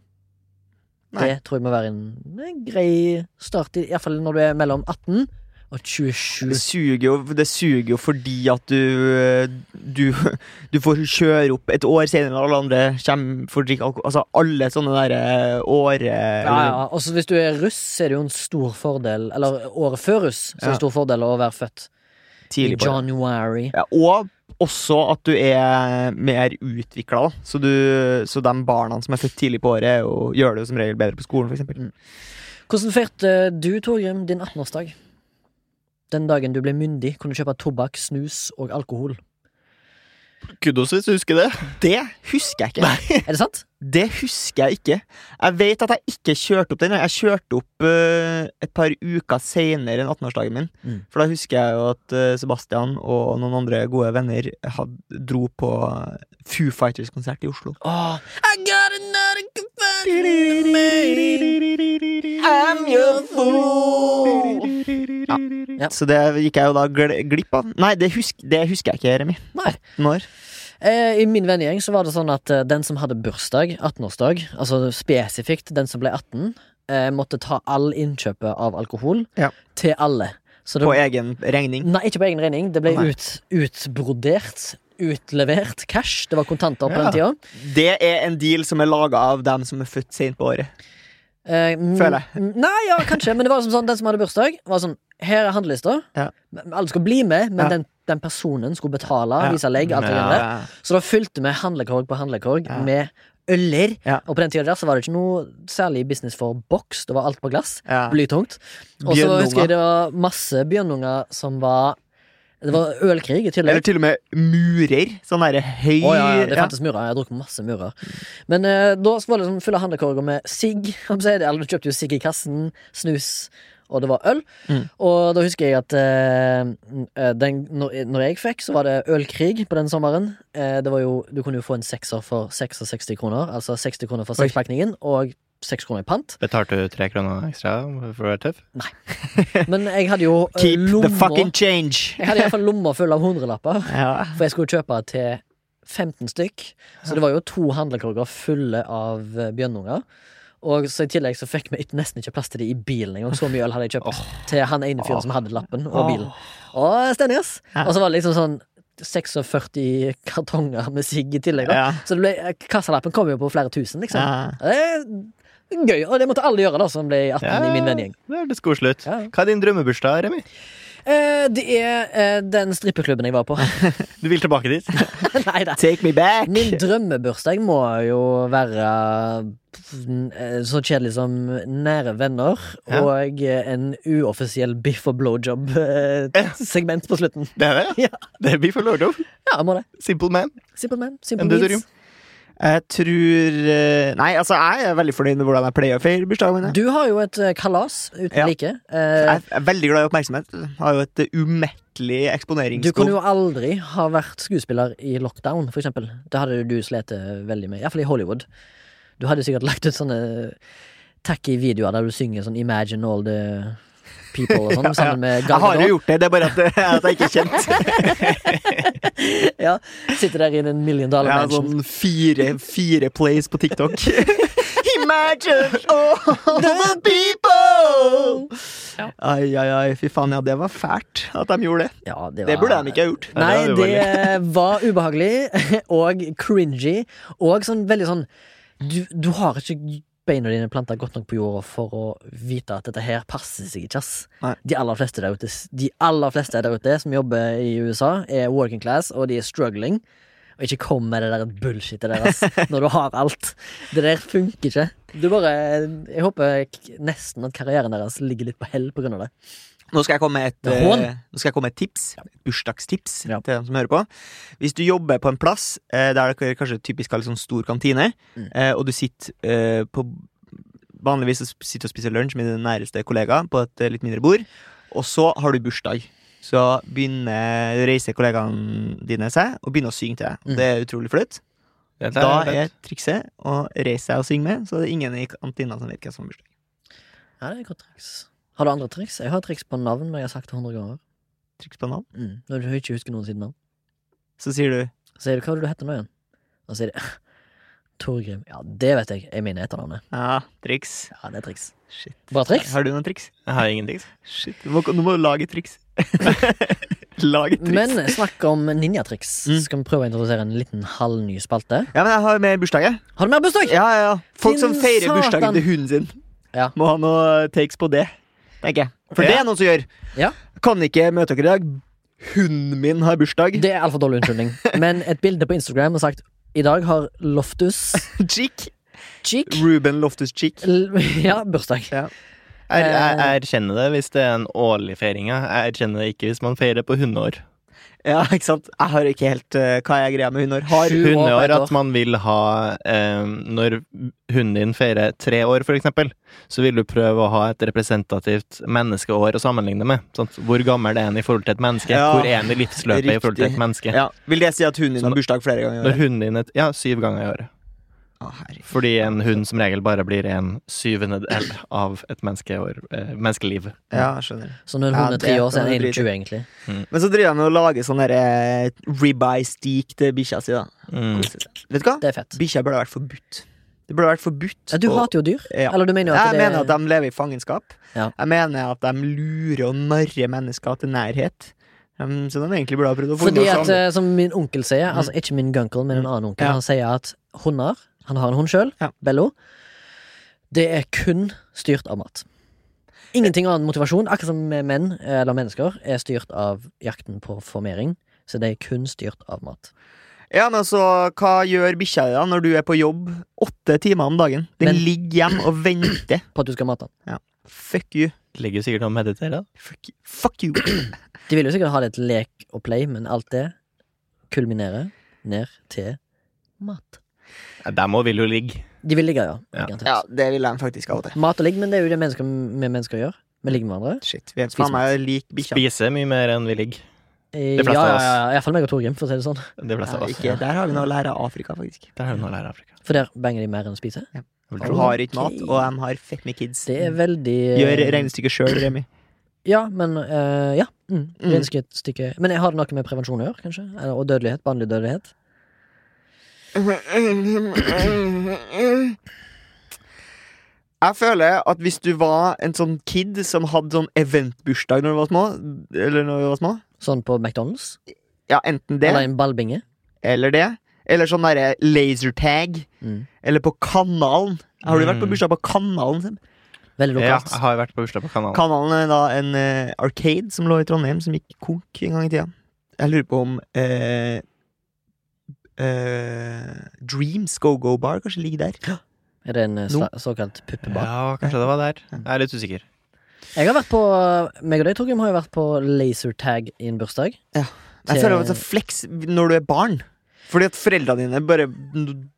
Nei.
Det tror jeg må være en, en grei start, iallfall når du er mellom 18 og 27.
Det suger, jo, det suger jo fordi at du, eh, du Du får kjøre opp et år senere enn alle andre. Kjem for å drikke alkohol Altså alle sånne derre åre...
Ja, ja. Også hvis du er russ, så er det jo en stor fordel Eller året før russ, så er det en
Ja.
stor fordel å være født i
Tidlig på året.
January.
Ja, og også at du er mer utvikla, da. Så, du- så de barna som er født tidlig på året, er jo, gjør det jo som regel bedre på skolen, f.eks.
Hvordan feirte du, Torgrim, din 18-årsdag? Den dagen du ble myndig, kunne du kjøpe tobakk, snus og alkohol.
Kudos hvis du husker det.
Mm.
Det husker jeg ikke.
Er det
(laughs)
sant?
Det husker jeg ikke. Jeg vet at jeg ikke kjørte opp den. Jeg kjørte opp eh, et par uker senere enn 18-årsdagen min.
Mm.
For da husker jeg jo at eh, Sebastian og noen andre gode venner had, dro på Foo Fighters-konsert i Oslo.
Åh, I got another confession to make. I'm your fool. Ja.
Så det gikk jeg jo da gl glipp av. Nei, det, husk, det husker jeg ikke, Remi.
Nei.
18 år.
Eh, I min vennegjeng så var det sånn at eh, den som hadde bursdag, 18-årsdag, altså spesifikt den som ble 18, eh, måtte ta all innkjøpet av alkohol
Ja.
til alle. Så det,
På egen regning.
nei, ikke på egen regning. Det ble
Nei.
ut, utbrodert, utlevert cash. Det var kontanter på
Ja.
den tida.
Det er en deal som er laga av dem som er født seint på året.
Eh, mm,
Føler
mm, Nei, ja, kanskje, men det var som sånn, den som hadde bursdag, var sånn Her er handlelista.
Ja.
Men Alle skulle bli med, men
Ja.
den, den personen skulle betale,
Ja.
vise legg, alt det
Ja.
der. Så da fylte vi handlekorg på handlekorg
Ja.
med øller.
Ja.
Og på den tida der så var det ikke noe særlig business for boks. Det var alt på glass.
Ja.
Blytungt. Og så
Bjørnunger.
husker jeg det var masse bjørnunger som var Det var ølkrig i
Eller
tillegg.
til og med murer. Sånn derre høy
Å ja, ja, det
ja.
fantes murer. Jeg har drukket masse murer. Men eh, da var det liksom fulle handlekorger med sigg. (laughs) om jeg sier det. Eller Du kjøpte jo sigg i kassen, snus, og det var øl.
Mm.
Og da husker jeg at eh, den, når, når jeg fikk, så var det ølkrig på den sommeren. Eh, det var jo, du kunne jo få en sekser for 66 kroner. Altså 60 kroner for
Oi.
sekspakningen og 6 kroner i
(laughs)
pant.
Betalte du tre kroner ekstra for å være tøff?
Men jeg hadde jo eh,
Keep the
lommer
fucking change!
Jeg hadde iallfall lommer full av hundrelapper.
Ja.
For jeg skulle kjøpe til 15 stykk. Så det var jo to handlekorger fulle av eh, bjørnunger. Og så I tillegg så fikk vi ikke- nesten ikke plass til det i bilen engang. Så mye øl hadde jeg kjøpt til han ene fyren som hadde lappen og bilen. Og stemning, ass.
Ja.
Og så var det liksom sånn 46 kartonger med sigg i tillegg. Da.
Ja.
Så det ble, eh, kassalappen kom jo på flere tusen, liksom.
Ja.
Det er Gøy. Og det måtte alle gjøre, da, som ble 18 i min vennegjeng.
Det er litt koselig ut.
Ja.
Hva er din drømmebursdag, Remi?
Eh, det er eh, den strippeklubben jeg var på. (laughs)
Du vil tilbake (laughs) dit?
Nei da.
Take me back!
Min drømmebursdag må jo være eh, så kjedelig som nære venner
Ja.
og eh, en uoffisiell biff og
Ja.
blowjob-segment på slutten.
Det er det?
Ja.
Det blir for lordom.
Ja, jeg må det.
Simple man.
Simple man. Simple
Enn du,
needs.
Jeg tror eh, Nei, altså, jeg er veldig fornøyd med hvordan jeg pleier å feire bursdagen min. jeg.
Du har jo et eh, kalas uten
Ja.
like. Eh,
Jeg er veldig glad i oppmerksomhet. Har jo et eh,
Du
umettelig
kunne
eksponeringsbehov.
jo aldri ha vært skuespiller i lockdown, for eksempel. Det hadde du slitt eh, veldig med, iallfall i Hollywood. Du hadde sikkert lagt ut sånne tacky videoer der du synger sånn 'Imagine all the people'
(laughs)
og sånn, sammen med
Jeg har jo
Gargadon.
gjort det, det er bare at, (laughs) eh, at jeg ikke er
(laughs)
kjent.
Ja, sitter der i en million dollar
Jeg har
mansion.
sånn fire, fire plays på TikTok. (laughs) Oh. Imagine all the people! Ai, ai, ai. Fy faen, ja, det var fælt at de gjorde det.
Ja,
sånn- Det burde de ikke ha gjort.
Nei,
det var
det var ubehagelig (laughs) og cringy og sånn veldig sånn Du, du har ikke beina dine planta godt nok på jorda for å vite at dette her passer seg ikke, ass.
Nei.
De aller fleste der ute De aller fleste der ute som jobber i USA, er working class, og de er struggling. Og ikke kom med det der bullshitet
(laughs)
deres når du har alt. Det der funker ikke. Du bare Jeg håper k- nesten at karrieren deres ligger litt på hell på grunn av det.
Nå skal jeg komme med et,
Det er hån.
eh, nå skal jeg komme med et tips. Et bursdagstips
Ja.
til dem som hører på. Hvis du jobber på en plass eh, der dere kanskje typisk har litt sånn stor kantine,
Mm.
eh, og du sitter eh, på Vanligvis så sp- sitter du og spiser lunsj med din næreste kollega på et eh, litt mindre bord, og så har du bursdag. Så begynner reiser kollegaene dine seg og begynner å synge til deg.
Mm.
Det er utrolig flaut.
Dette
Da er
lett.
trikset å reise seg og synge med, så det er ingen i kantina som vet hva som har bursdag.
Ja, det er et godt triks. Har du andre triks? Jeg har triks på navn, men jeg har sagt det 100 ganger.
Triks på navn.
Mm. Når du ikke husker noen sitt navn.
Så sier du
Så sier du hva var det du heter nå igjen? Og så sier de (laughs) Torgrim. Ja, det vet jeg. Jeg mener etternavnet.
ja, triks.
Ja, det er triks.
Shit.
Bra triks.
Har du noen triks?
Jeg har ingenting.
Shit, du må, du må lage triks. (laughs) lage triks.
Men snakk om ninjatriks.
Mm.
Skal vi prøve å introdusere en liten halvny spalte?
Ja, men jeg har mer bursdag, jeg.
Har du mer bursdag?
Ja, ja, ja. Folk
Din
som feirer
satan.
bursdagen til hunden sin,
Ja.
må ha noen takes på det. Tenker jeg. For det
Ja.
er noen som gjør.
Ja.
Kan ikke møte dere i dag. Hunden min har bursdag.
Det er altfor dårlig
(laughs)
unnskyldning. Men et bilde på Instagram har sagt i dag har Loftus
Chick.
Cheek (laughs)
Ruben Loftus Chick.
L- Ja, bursdag.
Jeg, jeg, jeg erkjenner det hvis det er en årlig feiring. ja. Jeg erkjenner det ikke hvis man feirer på hundeår.
Ja, ikke sant? Jeg har ikke helt eh, hva jeg greier med hunder. Har
Sju år på
Hundeår
ett år.
at man vil ha eh, Når hunden din feirer tre år, for eksempel, så vil du prøve å ha et representativt menneskeår å sammenligne med. Sant? Hvor gammel er en i forhold til et menneske?
Ja.
Hvor er en i livsløpet i forhold til
Riktig.
et menneske?
ja. Vil det si at hunden din har bursdag flere ganger? i
Når
året?
hunden din er Ja, syv ganger i året.
Å, herregud.
Fordi en hund som regel bare blir en syvende del av et menneskeår, eh, menneskeliv.
Ja, jeg skjønner.
Så når
Ja,
hun er tre
det
år, så er
kan
hun
du
21, egentlig.
Men så driver han og lager sånn der, eh, ribeye steak til bikkja si, da.
Mm.
Vet du hva?
Det er fett.
Bikkja burde vært forbudt. Det burde vært forbudt.
Ja, Du
å-
hater jo dyr.
Ja.
Eller du mener jo at
jeg
det
mener at de lever i fangenskap.
Ja.
Jeg mener at de lurer og narrer mennesker til nærhet. Um, så de egentlig burde ha prøvd å få
Fordi
unna
at,
sånn.
eh, som min onkel sier, altså ikke min gunkel, men en annen onkel,
Ja.
han sier at hunder Han har en hund sjøl,
Ja.
Bello. Det er kun styrt av mat. Ingenting annen motivasjon. Akkurat som med menn, eh, eller mennesker, er styrt av jakten på formering. Så det er kun styrt av mat.
Ja, men altså, Hva gjør bikkja di da når du er på jobb åtte timer om dagen? Den
Men-
ligger hjemme og venter.
På at du skal mate den.
Fuck you.
Ligger jo sikkert og mediterer, da.
Fuck you. Fuck you.
De vil jo sikkert ha det til lek og play, men alt det kulminerer ned til mat.
Ja, dem òg vil jo ligge.
De vil ligge, ja.
Ja.
garantert.
Ja, det vil de faktisk av og til.
Mat og ligg, men det er jo det mennesker, vi mennesker gjør. Vi ligger med hverandre.
Shit, vi er
Spis
faen meg lik bikkja.
Spise mye mer enn vi ligger.
Eh,
De fleste
ja,
av
ja,
oss.
ja, Iallfall meg og Torgrim, for å si det sånn.
De fleste
Ja,
av oss.
ikke- Der har vi noe å lære av Afrika, faktisk.
Der har du noe å lære av Afrika.
For der banger de mer enn å spise.
Jeg vil
De
tro
har
det.
ikke mat, og de har fett med kids.
Det
Mm.
er veldig eh,
Gjør regnestykket sjøl, Remi.
Ja, men eh, Ja. Mm,
Mm.
Regnestykke. Men jeg har det noe med prevensjon å gjøre, kanskje? Eller- Og dødelighet. Barnlig dødelighet.
Jeg føler at hvis du var en sånn kid som hadde sånn eventbursdag når du var små, eller når du var små
Sånn på McDonald's.
Ja, enten det
Eller en ballbinge.
eller det. Eller sånn derre lasertag.
Mm.
Eller på Kanalen. Har du vært på
Mm.
bursdag på Kanalen? Sem?
Veldig
Ja,
lokalt.
jeg har vært på bursdag på kanalen.
Kanalen er da en eh, arcade som lå i Trondheim, som gikk konk en gang i tida. Jeg lurer på om eh, eh, Dreams Go-Go Bar kanskje ligger der.
Er det en eh, sla- såkalt puppebar?
Ja, kanskje det var der. Jeg er litt usikker.
Jeg har vært på eh, Meg og deg, Torgrim, har jo vært på lasertag i en bursdag.
Jeg føler at det er flex når du er barn. Fordi at foreldrene dine bare n-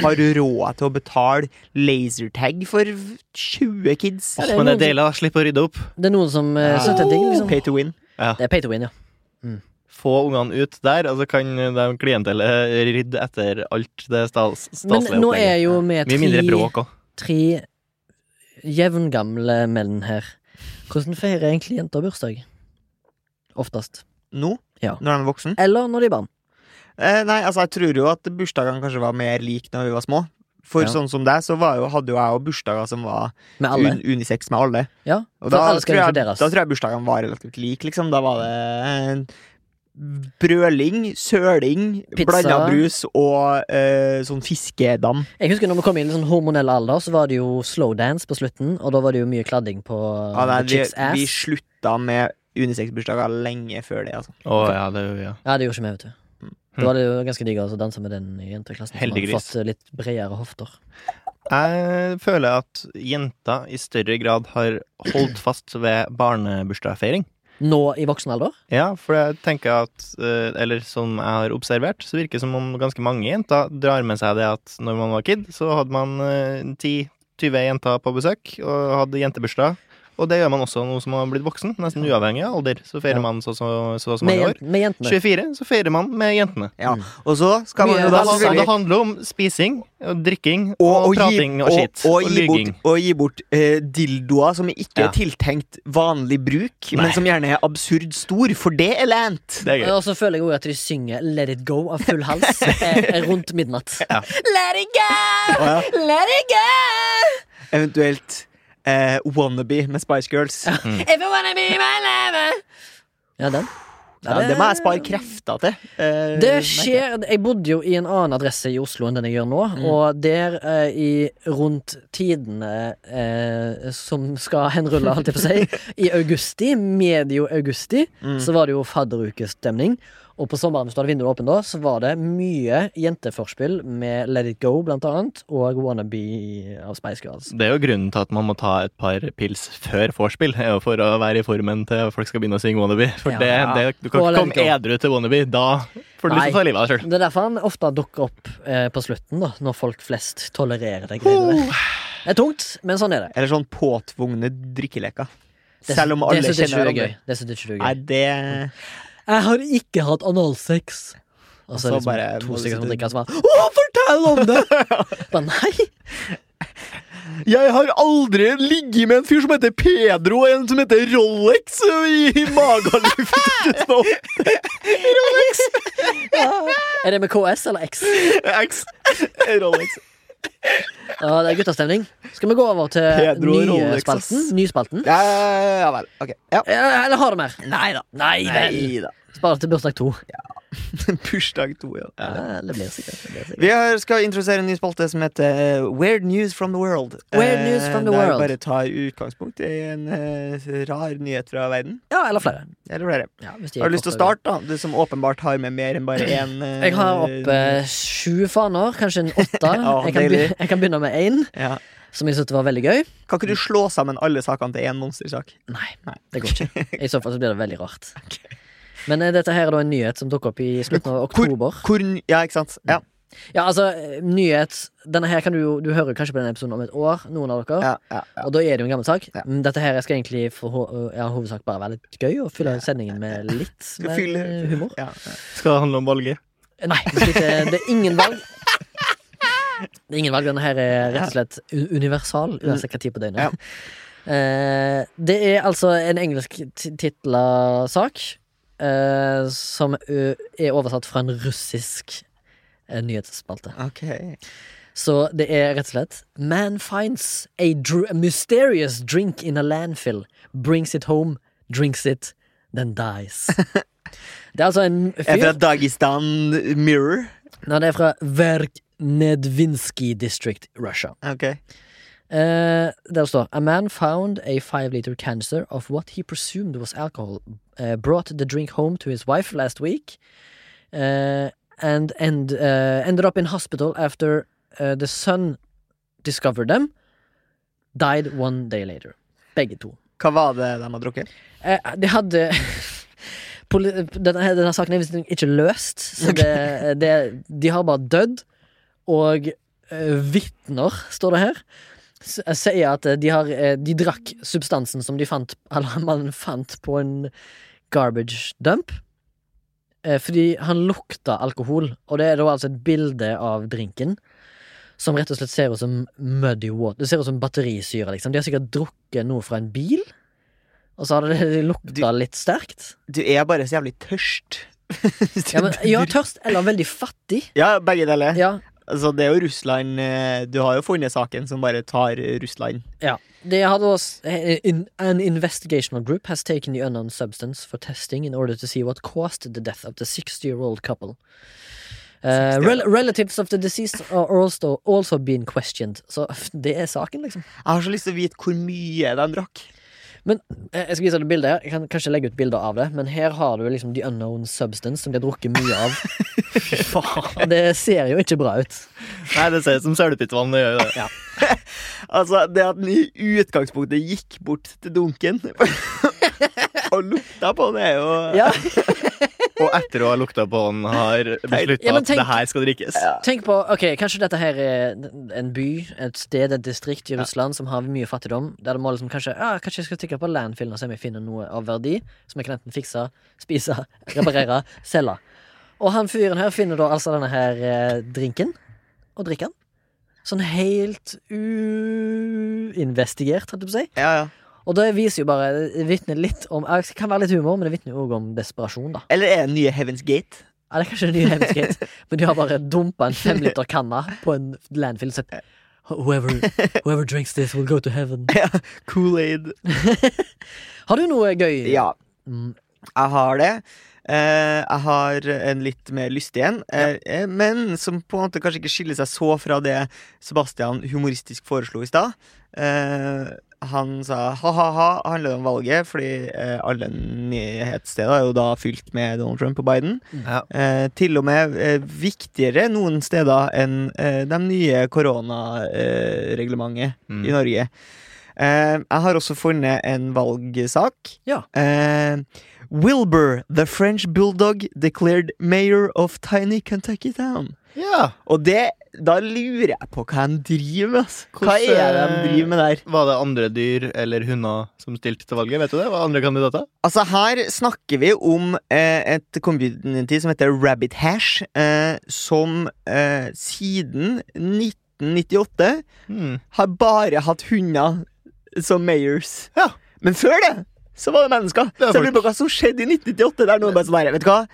har råd til å betale lasertag for 20 kids.
Ja, det er
Men det
noen
er deilig å slippe å rydde opp.
Det er noen som uh,
Ja.
syns det er digg, liksom.
Pay to win.
Det er pay to win, ja.
Få ungene ut der, og så kan de klientellet rydde etter alt det stas
Men
staselige
nå er jo vi
Mye mindre
tre,
bråk òg.
tre jevngamle menn her. Hvordan feirer egentlig jenter bursdag? Oftest.
Nå,
Ja.
når de er voksen.
Eller når de er barn.
Eh, nei, altså, jeg tror jo at bursdagene kanskje var mer like når vi var små. For
Ja.
sånn som deg, så var jo, hadde jo jeg jo bursdager som var
Med alle.
un unisex med alle.
Ja,
Og
for
da,
alle skal
tror jeg, da
inkluderes.
tror jeg bursdagene var relativt like, liksom. Da var det eh, brøling, søling,
Pizza.
blanda brus og eh, sånn fiskedam.
Jeg husker når vi kom inn i litt sånn hormonell alder, så var det jo slowdance på slutten, og da var det jo mye kladding på
Ja, nei,
the
vi,
chicks ass.
vi slutta med unisex-bursdager lenge før det, altså.
Å ja, det er jo ja.
ja, det gjorde ikke vi, vet du. Da var det jo ganske digg altså, å danse med den i jenteklassen. som hadde
Heldiggris.
Fått eh, litt bredere hofter.
Jeg føler at jenter i større grad har holdt fast ved barnebursdagsfeiring.
Nå i voksen alder?
Ja, for jeg tenker at eh, Eller som jeg har observert, så virker det som om ganske mange jenter drar med seg det at når man var kid, så hadde man eh, 10-20 jenter på besøk og hadde jentebursdag. Og det gjør man også nå som man har blitt voksen, nesten uavhengig av alder. Så feirer
Ja.
man så så, så, så
Med,
mange år.
jen med jentene.
24 så feirer man med jentene.
Mm.
Ja. Og så skal man
Mye
jo
Det
er
da
handler,
selvfølgelig
det handler om spising, og drikking, og,
og, og, gi,
prating og
og,
skitt.
og,
Og,
gi bort,
lyging.
og gi bort eh, dildoer som ikke
Ja.
er tiltenkt vanlig bruk,
Nei.
men som gjerne er absurd stor, for det er lent.
Det er gøy.
Og så føler jeg òg at de synger Let It Go av full
(laughs)
hals eh, rundt midnatt.
Let it go!
Og ja,
Let it go!
eventuelt eh, Wannabe med Spice Girls.
(laughs)
Ja,
If you wanna be my lover
Ja, den. Ja,
det må jeg spare krefter til. Eh,
Det skjer Jeg bodde jo i en annen adresse i Oslo enn den jeg gjør nå,
Mm.
og der eh, i rundt tidene eh, som skal henrulle, holdt jeg på å si,
(laughs)
i augusti, medio augusti,
Mm.
så var det jo fadderukestemning. Og på sommeren, hvis du hadde vinduet åpent da, så var det mye jenteforspill med Let It Go, blant annet, og Wannabe av Spice Girls.
Det er jo grunnen til at man må ta et par pils før vorspiel. er jo For å være i formen til folk skal begynne å synge Wannabe. For
Ja.
det, det, du kan
Og
ikke komme
Lenko.
edru til Wannabe. Da får du lyst til å ta livet av deg sjøl.
Det er derfor han ofte dukker opp eh, på slutten, da, når folk flest tolererer det greiene der. Det er tungt, men sånn er det.
Eller sånn påtvungne drikkeleker.
Det-
Selv om alle
det synes ikke
kjenner
du er
hverandre.
gøy. Det synes ikke du er gøy.
Nei, det
Jeg har ikke hatt analsex. Og så
Og så
er det liksom to
bare må du
stykker som
sitte-
drikker, som bare Å, fortell om det!
(laughs)
Bare nei.
Jeg har aldri ligget med en fyr som heter Pedro, og en som heter Rolex eh, i mageluft.
Er det med KS eller X?
X. Rolex.
Ja, det er guttastemning. Skal vi gå over til
Pedro og Rolex, ass.
nyspalten? Nyspalten?
Ja, ja vel. Ok. Ja.
Ja, Eller har du mer?
Nei da.
Nei vel.
Nei da.
Spar det til bursdag to.
Bursdag to, ja.
Ja, det blir sikkert. Det blir sikkert.
Vi har- skal introdusere en ny spalte som heter eh, Weird News from the World. Eh,
Weird news from the
der
world.
vi bare tar utgangspunkt i en eh, rar nyhet fra verden.
Ja, eller flere.
Eller flere.
Ja, hvis de er
Har du lyst til å
korte.
starte, da? Du som åpenbart har med mer enn bare én. eh,
Jeg har oppe sju faner, kanskje en åtte.
(laughs) Ja,
Jeg kan
deilig.
be- jeg kan begynne med én,
ja.
som jeg syntes var veldig gøy.
Kan ikke du slå sammen alle sakene til én monstersak?
Nei, det går
(laughs)
ikke. I så fall så blir det veldig rart. Men eh, dette her er da en nyhet som dukket opp i slutten av oktober.
Hvor, n- ja, ikke sant? Ja.
Ja, altså, eh, nyhet Denne her kan du jo Du hører kanskje på denne episoden om et år, noen av dere.
Ja, ja, ja.
Og da er det jo en gammel sak.
Ja.
Men Dette her skal egentlig for ho- i all hovedsak bare være litt gøy og fylle sendingen
(laughs)
med litt mer,
fylle-
eh, humor.
Ja.
Skal det handle om valget?
Nei, det er ikke- det er ingen valg. Det er ingen valg. Denne her er rett og slett u- universal, uansett hva tid på døgnet. Eh, Det er altså en engelsk titla sak, eh, som ø, er oversatt fra en russisk eh, nyhetsspalte.
Ok.
Så det er rett og slett Man finds a dr mysterious drink in a landfill, brings it home, drinks it, then dies. Det er altså en
Er
fyr
fra Dagestan Mirror.
Nei, det er fra Verknedvinsky District, Russia.
Ok.
Eh, der står A man found a five liter canister of what he presumed was alcohol, eh, brought the drink home to his wife last week, eh, and end, eh, ended up in hospital after eh, the son discovered them, died one day later. Begge to.
Hva var det de har drukket?
Eh, de hadde (laughs) Poli denne, her- denne saken er visst ikke løst. Så det, det, de har bare dødd. Og eh, vitner, står det her, s- sier at eh, de, har, eh, de drakk substansen som de fant (laughs) Eller man fant på en garbage dump. Eh, fordi han lukta alkohol, og det er da altså et bilde av drinken. Som rett og slett ser ut som muddy water. Det ser ut som batterisyre, liksom. De har sikkert drukket noe fra en bil, og så har det lukta litt sterkt.
Du er bare så jævlig tørst. (laughs) Hvis du
Ja, men, ja,
dr-
tørst eller veldig fattig.
ja, begge deler.
Ja,
Altså, det er jo Russland eh, Du har jo funnet saken som bare tar eh, Russland.
ja. Det hadde også eh, in, An investigational group has taken the unknown substance for testing in order to see what caused the death of the 60-year-old couple. Eh, rel relatives of the deceased are also, (laughs) also being questioned. Så f- det er saken, liksom.
Jeg har så lyst til å vite hvor mye de drakk.
Men eh, jeg skal vise deg bildet her. Jeg kan kanskje legge ut bilder av det, men her har du liksom The Unknown Substance, som de har drukket mye
(laughs)
av. Og det ser jo ikke bra ut.
Nei, det ser ut som sølepyttvann. Det gjør jo det.
Altså, det at den i utgangspunktet gikk bort til dunken (laughs) og lukta på det, er jo
Ja,
Og etter å ha lukta på den, har beslutta
Ja, men
at
tenk-
det her skal drikkes.
Tenk på, ok, Kanskje dette her er en by, et sted, et distrikt i Russland som har mye fattigdom. Der det må liksom kanskje ja, Kanskje jeg skal stikke på landfillen og se om jeg finner noe av verdi som jeg kan enten fikse, spise, (laughs) reparere, selge. Og han fyren her finner da altså denne her eh, drinken, og drikker den. Sånn helt uinvestigert, holdt jeg på å si.
Ja, ja.
Og det viser jo bare det vitner litt om ja, Det kan være litt humor, men det vitner jo òg om desperasjon, da.
Eller er det nye Heaven's Gate?
Ja, det er kanskje det nye
(laughs)
hemskhet, men de har bare dumpa en femliter kanne på en landfill. og sagt, Whoever, whoever drinks this will go to heaven.
Kool-Aid?
Har du noe gøy?
Ja.
Mm,
Jeg har det. Eh, jeg har en litt mer lystig en, eh, eh, men som på en måte kanskje ikke skiller seg så fra det Sebastian humoristisk foreslo i stad. Eh, han sa ha-ha-ha, handler det om valget, fordi eh, alle nyhetssteder er jo da fylt med Donald Trump og Biden.
Ja.
Eh, til og med eh, viktigere noen steder enn eh, de nye koronareglementet
Mm.
i Norge. Eh, jeg har også funnet en valgsak.
Ja.
Eh, Wilbur, the French bulldog, declared mayor of tiny Kentucky town.
Ja.
Og det, da lurer jeg på hva de driver med. Altså. Hva
Hvordan,
er det de driver med der?
Var det andre dyr eller hunder som stilte til valget? Vet du det? Var det andre kandidater?
Altså Her snakker vi om eh, et community som heter Rabbit Hash, eh, som eh, siden 1998
Hmm.
har bare hatt hunder som mayors.
Ja.
Men før det så var det mennesker.
Det er
så jeg lurer på hva som skjedde i 1998. Der noen bare sånn her, vet du hva?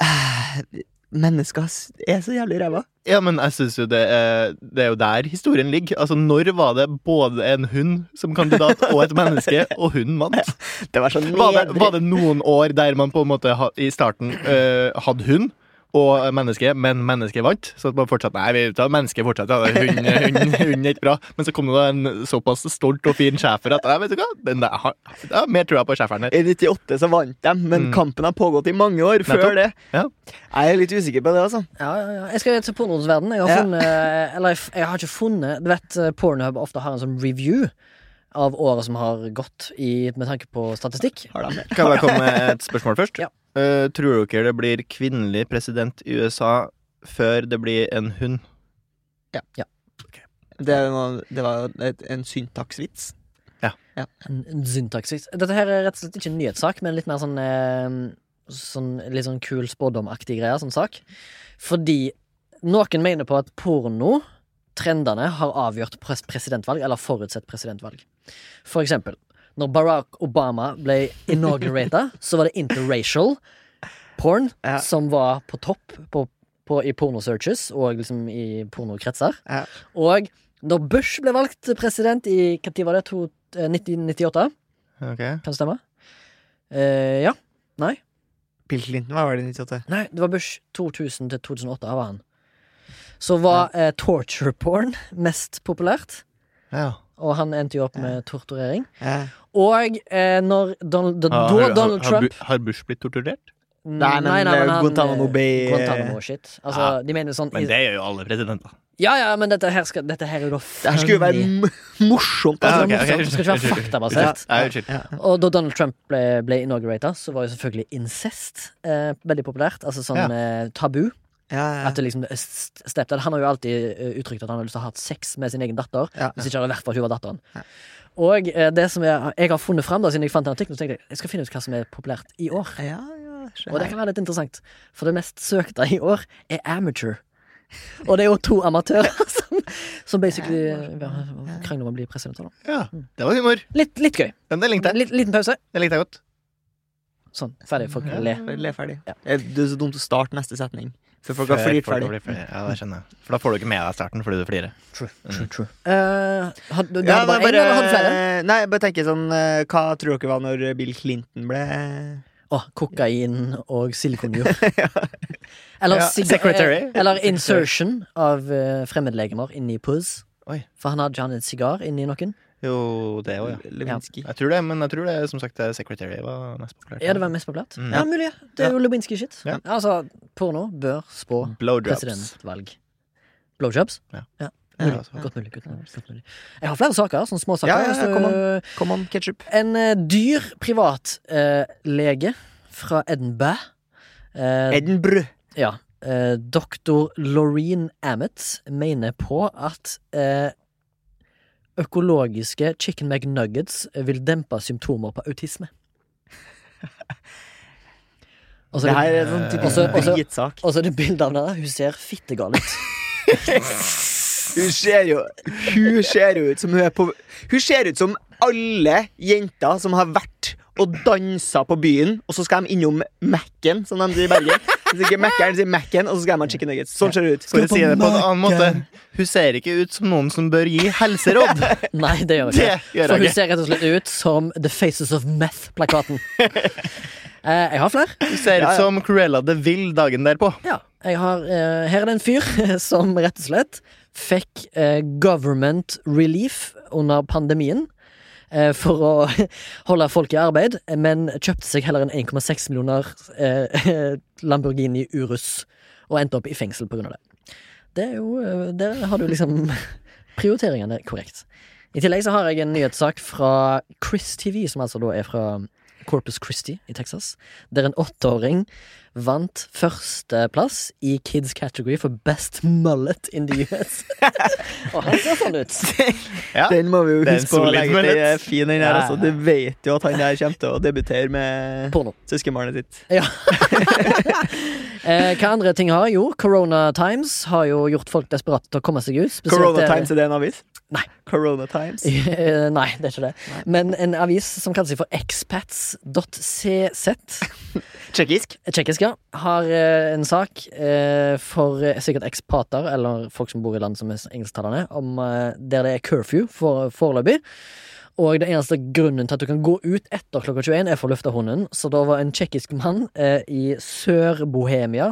Eh, Mennesker ass, er så jævlig ræva.
Ja, men jeg synes jo det er, det er jo der historien ligger. Altså, Når var det både en hund som kandidat og et (laughs) menneske, og hunden vant?
Det var sånn så
Var det,
nedrig.
var det noen år der man på en måte ha, i starten eh, hadde hund og menneske, men mennesket vant? Så at man fortsatte Nei, vi tar mennesket fortsatt. Ja, det er hund, hund, hund er ikke bra. Men så kom det da en såpass stolt og fin schæfer at ja, vet du hva, den der, har- ja, mer trua på schæferen her.
I 98 så vant de, men
Mm.
kampen har pågått i mange år før
Nettopp.
det.
Ja.
Jeg er litt usikker på det, altså.
ja, ja, ja. Jeg skal til pornoens verden. Jeg har
Ja.
funnet eh, Eller jeg f- jeg har ikke funnet Du vet eh, Pornhub ofte har en sånn review av året som har gått, i, med tanke på statistikk.
Kan jeg bare komme med et spørsmål (laughs) først?
Ja.
Eh, tror dere det blir kvinnelig president i USA før det blir en hund?
Det var, det var et, en syntaksvits.
En en syntaksis. Dette her er rett og slett ikke en nyhetssak, men litt mer sånn, eh, sånn Litt sånn kul spådomaktig greie, sånn sak. Fordi noen mener på at porno Trendene har avgjort pres presidentvalg, eller forutsett presidentvalg. For eksempel, når Barack Obama ble inaugurata, så var det interracial porn
Ja.
som var på topp på, på, i pornosearches og liksom i pornokretser.
Ja.
Og når Bush ble valgt til president i hva tid var det? To, eh, 1998?
Okay.
Kan det stemme? Eh, ja.
Bill Clinton var vel i 98.
Nei, det var Bush 2000 til 2008 var han. Så var eh, torture porn mest populært,
Ja.
og han endte jo opp med torturering.
Ja.
Og eh, når Donald, da, da Donald Trump Mm,
Bu- har Bush blitt torturert?
Nei, men, eh, Guantanamo Bay, eh,
Guantanamo-shit. Altså,
ja.
de mener sånn
Men det gjør jo alle presidenter.
Ja, ja, men dette her, skal, dette her er jo da
Det her skulle jo være
funny.
m- morsomt.
Ja,
Altså.
ok, ok. Det skal ikke være faktabasert.
Ja, unnskyld.
Og da Donald Trump ble, ble inaugurata, så var jo selvfølgelig incest eh, veldig populært. Altså sånn
Ja.
eh, tabu.
Ja, ja.
At det liksom, st- stepdad, han har jo alltid eh, uttrykt at han har lyst til å ha hatt sex med sin egen datter.
Ja.
Hvis ikke hadde det vært for at hun var datteren. Og eh, det som jeg, jeg har funnet fram, da, siden jeg fant den artikkelen, så tenkte jeg jeg skal finne ut hva som er populært i år.
Ja, ja, skjønner.
Og det kan være litt interessant, for det mest søkte i år er amateur. Og det er jo to amatører (laughs) som, som basically ja, krangler om å bli presidenter. da.
Ja, det var humor.
Litt, litt gøy.
Den der likte jeg.
Litt, liten pause.
Den likte jeg godt.
Sånn. Ferdig. Folk
Ja.
ler.
Le ferdig.
Ja.
Eh, Det er så dumt å starte neste setning. Før folk har
Før
flirt
folk
ferdig.
blir ferdig. Ja, det skjønner jeg. For da får du ikke med deg starten fordi du flirer.
True,
true,
true. hadde, Eh, du
Ja,
hadde bare
nei,
én, eller hadde du flere?
eh, Nei, jeg bare tenker sånn eh, Hva tror dere var når Bill Clinton ble
Å, kokain og (laughs) silikonjord. Eller,
Ja,
sig-
secretary.
eh, eller insertion av eh, fremmedlegemer inni pus.
Oi.
For han hadde ikke han en sigar inni noen?
Jo, det òg, ja.
Lewinsky.
Jeg tror det, men jeg tror det som sagt det er Secretary var mest populært.
Ja, det var mest populært?
Mm.
Ja, mulig. ja. Det er jo Lubinsky-shit.
Ja.
Altså, porno bør spå
Blowjobs.
presidentvalg. Blowjobs?
Ja.
Mulig.
Ja, altså.
Godt mulig. Godt mulig. Godt mulig. Jeg har flere saker, sånne små saker.
Ja, ja, ja,
Så,
kom Come on, ketchup.
En eh, dyr privatlege fra Edinburgh. Eh,
Edinburgh.
ja. Eh, Doktor Laureen Ammett mener på at eh, økologiske chicken McNuggets vil dempe symptomer på autisme. Og så
(laughs) Det
er
her
det,
er en sånn typisk
Eh, Også- også-
dritsak.
og så er det bilde av henne. Hun ser fittegal ut.
(laughs) Hun ser jo Hun ser jo ut som hun er på Hun ser ut som alle jenter som har vært og dansa på byen, og så skal de innom Mac-en, som de sier i Bergen. Hvis ikke Mac-eren sier Mac-en, og så skal de ha chicken nuggets. Sånn ser det ut.
For å si det på en annen måte,
Mac-en.
hun ser ikke ut som noen som bør gi (laughs) helseråd.
Nei, det gjør hun
Det
ikke.
gjør
For
hun
hun
ikke.
ser rett og slett ut som The Faces of
(laughs)
Meth-plakaten. Eh, jeg har flere.
Hun ser ut som Cruella de Vil dagen derpå.
Ja, jeg har, eh, her er det en fyr (laughs) som rett og slett fikk eh, government relief under pandemien. eh, For å (laughs) holde folk i arbeid, men kjøpte seg heller en 1,6 millioner eh, (laughs) Lamborghini Urus. Og endte opp i fengsel pga. det. Det er jo, eh, Der har du liksom (laughs) prioriteringene korrekt. I tillegg så har jeg en nyhetssak fra Chris TV, som altså da er fra Corpus Christi i Texas. Der en åtteåring vant førsteplass i Kids Category for Best Mullet in the
(laughs)
US. Og han ser sånn ut.
Ja.
Den må vi jo
Det er en
huske på å
solid
legge til.
mullet.
Det er fin, den
Ja,
her,
ja,
altså.
ja.
Du vet jo at han der kommer til å debutere med
Porno.
søskenbarnet sitt.
Eh, hva andre ting har? Jo, Corona Times har jo gjort folk desperate til å komme seg ut. spesielt
Corona
dere-
Times, er det en avis?
Nei.
Corona Times.
Eh, (laughs) Nei, det er ikke det. Men en avis som kaller seg for expats.cz,
Tsjekkisk.
tsjekkisk, ja, har eh, en sak eh, for eh, sikkert ekspater, eller folk som bor i land som er engelsktalende, om eh, der det er curfew for, foreløpig. Og det eneste grunnen til at du kan gå ut etter klokka 21, er for å lufte hunden. Så da var en tsjekkisk mann eh, i Sør-Bohemia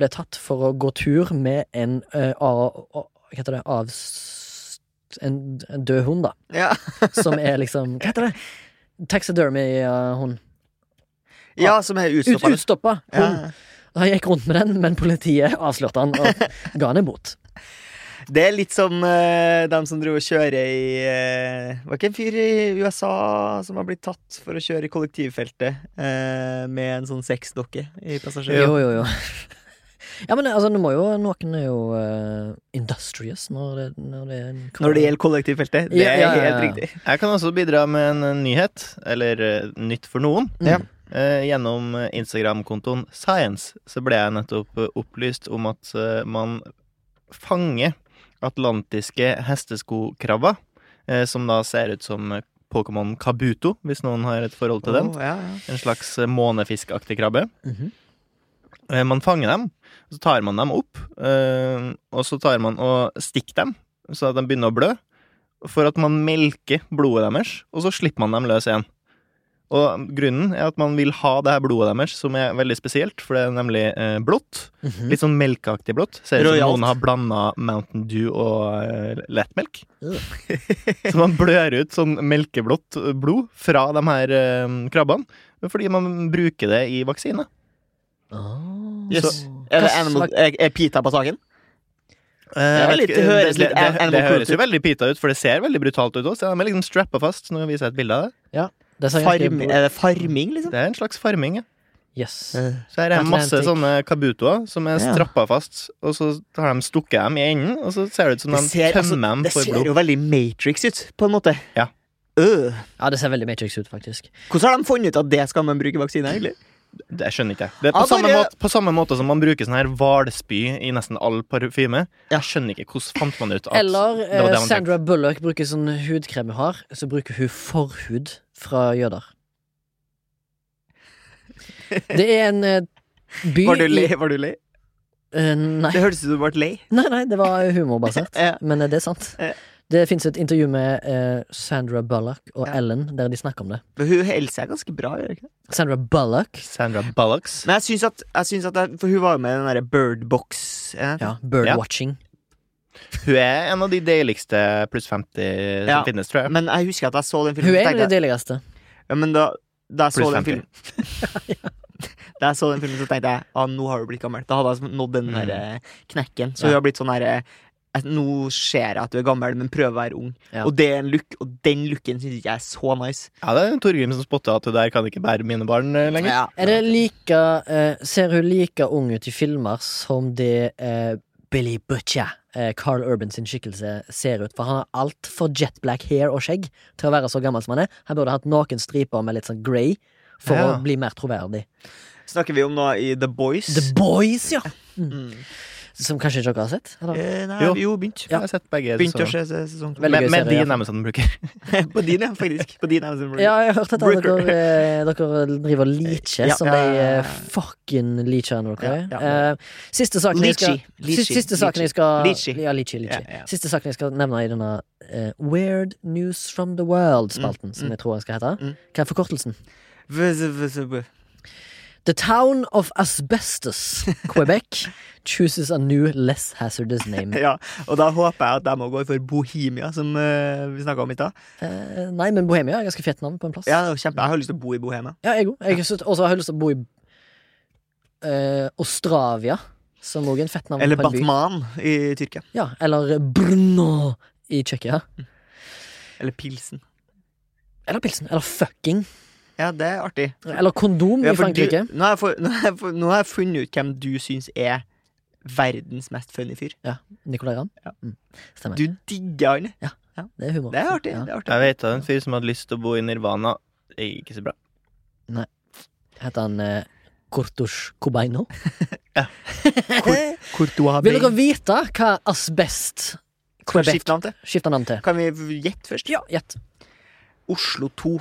ble tatt for å gå tur med en eh, av- å- Hva heter det? Av... En, en død hund, da.
Ja.
Som er liksom Hva heter det? Taxidermy-hund.
ja, som er
Ut,
utstoppa.
utstoppa
Ja.
hund. Han gikk rundt med den, men politiet avslørte han og ga han en
(laughs)
bot.
Det er litt som eh, dem som driver og kjører i eh, Var ikke en fyr i USA som har blitt tatt for å kjøre i kollektivfeltet eh, med en sånn sexdokke i passasjeren?
Jo, jo, (laughs) jo. Ja, men altså, det må jo, noen er jo eh, industrious når det, når det er en
Når det gjelder kollektivfeltet. Det
Ja,
er
ja, ja,
helt
ja.
riktig.
Jeg kan også bidra med en eh, nyhet, eller eh, nytt for noen.
Mm. Ja.
Eh, gjennom eh, Instagram-kontoen Science så ble jeg nettopp eh, opplyst om at eh, man fanger atlantiske hesteskokrabber, eh, som da ser ut som eh, Pokémon Kabuto, hvis noen har et forhold til den.
Å, ja, ja.
En slags eh, månefiskaktig krabbe.
Mhm.
Eh, Man fanger dem, og så tar man dem opp, eh, og så tar man og stikker dem, så at de begynner å blø, for at man melker blodet deres, og så slipper man dem løs igjen. Og grunnen er at man vil ha det her blodet deres, som er veldig spesielt, for det er nemlig eh, blått.
Mhm.
Litt sånn melkeaktig blått. Ser ut som
Royalt.
noen har blanda Mountain Dew og eh, lettmelk.
Ugh.
(laughs) så man blør ut sånn melkeblått blod fra de her eh, krabbene, fordi man bruker det i vaksine.
Ah.
Yes.
Så-
Er, det
Hva
animal,
slags-
er, er Pita på saken? Det
Eh,
er
jeg vet
litt-
ikke,
det høres
det,
litt
det,
an-
det, det
animal
høres jo
cruelty.
veldig pita ut, for det ser veldig brutalt ut også. De er liksom strappa fast. Nå viser jeg et bilde av det.
Det sa jeg
Farm,
ganske-
er det farming, liksom?
Det er en slags farming. ja.
Yes.
Så her er
Atlantic.
masse sånne kabutoer som er
Ja.
strappa fast, og så har de stukket dem i enden, og så ser det ut som de
Det ser,
tømmer
altså,
dem
det
for
ser
blod.
jo veldig Matrix ut, på en måte.
Ja.
Øh.
Ja, det ser veldig Matrix ut, faktisk.
Hvordan har de funnet ut at det skal man bruke i vaksine? egentlig?
Det skjønner ikke jeg. Det er på,
Ja,
samme
bare-
måte, på samme måte som man bruker sånn her hvalspy i nesten all parfyme.
Ja.
Jeg skjønner ikke hvordan fant man ut at
Eller
det var
eh,
det man
Sandra Bullock bruker sånn hudkrem hun har, så bruker hun forhud fra
(laughs)
jøder. Det er en eh, by
Var du lei?
i-
Var du lei?
Eh, nei.
Det hørtes ut som du ble lei.
Nei, nei, det var humorbasert.
Ja.
Men eh, det er sant.
Ja.
Det fins et intervju med eh, Sandra Bullock og
Ja.
Ellen der de snakker om det.
Men hun holder seg ganske bra. gjør hun ikke?
Sandra Bullock.
tenkte. Sandra Bullocks.
Men jeg syns at, jeg syns at jeg, For hun var jo med i den derre Bird Box. eh,
Ja, birdwatching.
Hun er en av de deiligste pluss 50 som
Ja.
finnes, tror jeg.
Men jeg husker at jeg så den
Hun er
filmen. så
en av
tenkte
de
jeg-
deiligste.
Ja, men da, da jeg så
Pluss
den
50.
filmen (laughs) Da jeg så den filmen, så tenkte jeg ah, nå har du blitt gammel. Da hadde jeg nådd
Mm.
den der eh, knekken. Så
Ja.
hun har blitt sånn her eh, at Nå ser jeg at du er gammel, men prøv å være ung.
Ja.
Og det er en look, og den looken syns ikke jeg er så nice.
Ja, det er Torgrim som spotta at hun der kan ikke bære mine barn eh, lenger.
Ja.
Er det like eh, Ser hun like ung ut i filmer som det eh, Billy Butcher, eh, Carl Urban sin skikkelse, ser ut? For han har altfor jet black hair og skjegg til å være så gammel som han er. Han burde hatt noen striper med litt sånn grey for
Ja.
å bli mer troverdig.
Snakker vi om noe i The Boys?
The Boys, ja!
Mm.
Som kanskje ikke dere har sett? Eller?
Eh, nei,
Jo.
jo, begynt.
Jeg har sett begge
Begynte å
sesonger.
se se- sesong to.
Veldig
Med,
gøy
med
serie,
de
ja.
nemmeste de bruker.
(laughs) På din, ja, faktisk. På din Amazon Prime.
Ja, jeg har hørt at alle
Brooker.
dere, eh, dere driver og leacher
Ja.
som de
Ja.
eh, fucking leacher nå, dere.
Ja,
Eh, Siste saken jeg skal
Lychee. Lychee.
Siste- Siste saken jeg
Lychee.
skal
Lychee.
Ja, lychee, lychee.
Ja, ja.
Siste saken jeg skal nevne i denne eh, Weird News From The World-spalten, som
mm.
jeg tror den skal hete.
Mm.
Hva er forkortelsen?
Vz- vz- vz-
The town of
(laughs)
asbestos, Quebec, chooses a new less hazardous name.
(laughs) Ja, og da håper jeg at de òg går for Bohemia, som eh, vi snakka om i stad.
Eh, nei, men Bohemia er ganske fett navn på en plass.
Ja, det er jo kjempe- jeg har lyst til å bo i Bohemia.
Ja, jeg òg. Jeg syns- også har jeg lyst til å bo i eh, Ostravia, som òg er en fett navn
Eller
på en by.
Batman i Tyrkia.
Ja, eller Brno i Tsjekkia.
Eller Pilsen.
Eller pilsen. Eller fucking.
Ja, det er artig.
Eller kondom
Ja,
i
for
Frankrike.
Du, nå, har jeg for, nå, har jeg for, nå har jeg funnet ut hvem du syns er verdens mest funny fyr.
Nicolay Ramm.
Ja.
Mm. Stemmer.
Du digger han.
det er humor.
Det er artig.
Ja.
Det er artig.
Jeg vet av en fyr som hadde lyst til å bo i Nirvana. Det gikk ikke så bra.
Heter han eh, Kurtush Kobaino?
(laughs) Courtois
Vil dere
Bay.
vite hva asbest
Skal vi
Quebec
skifte navn til?
skifter navn til?
Kan vi gjette først?
Ja, gjett.
Oslo
(laughs)
2.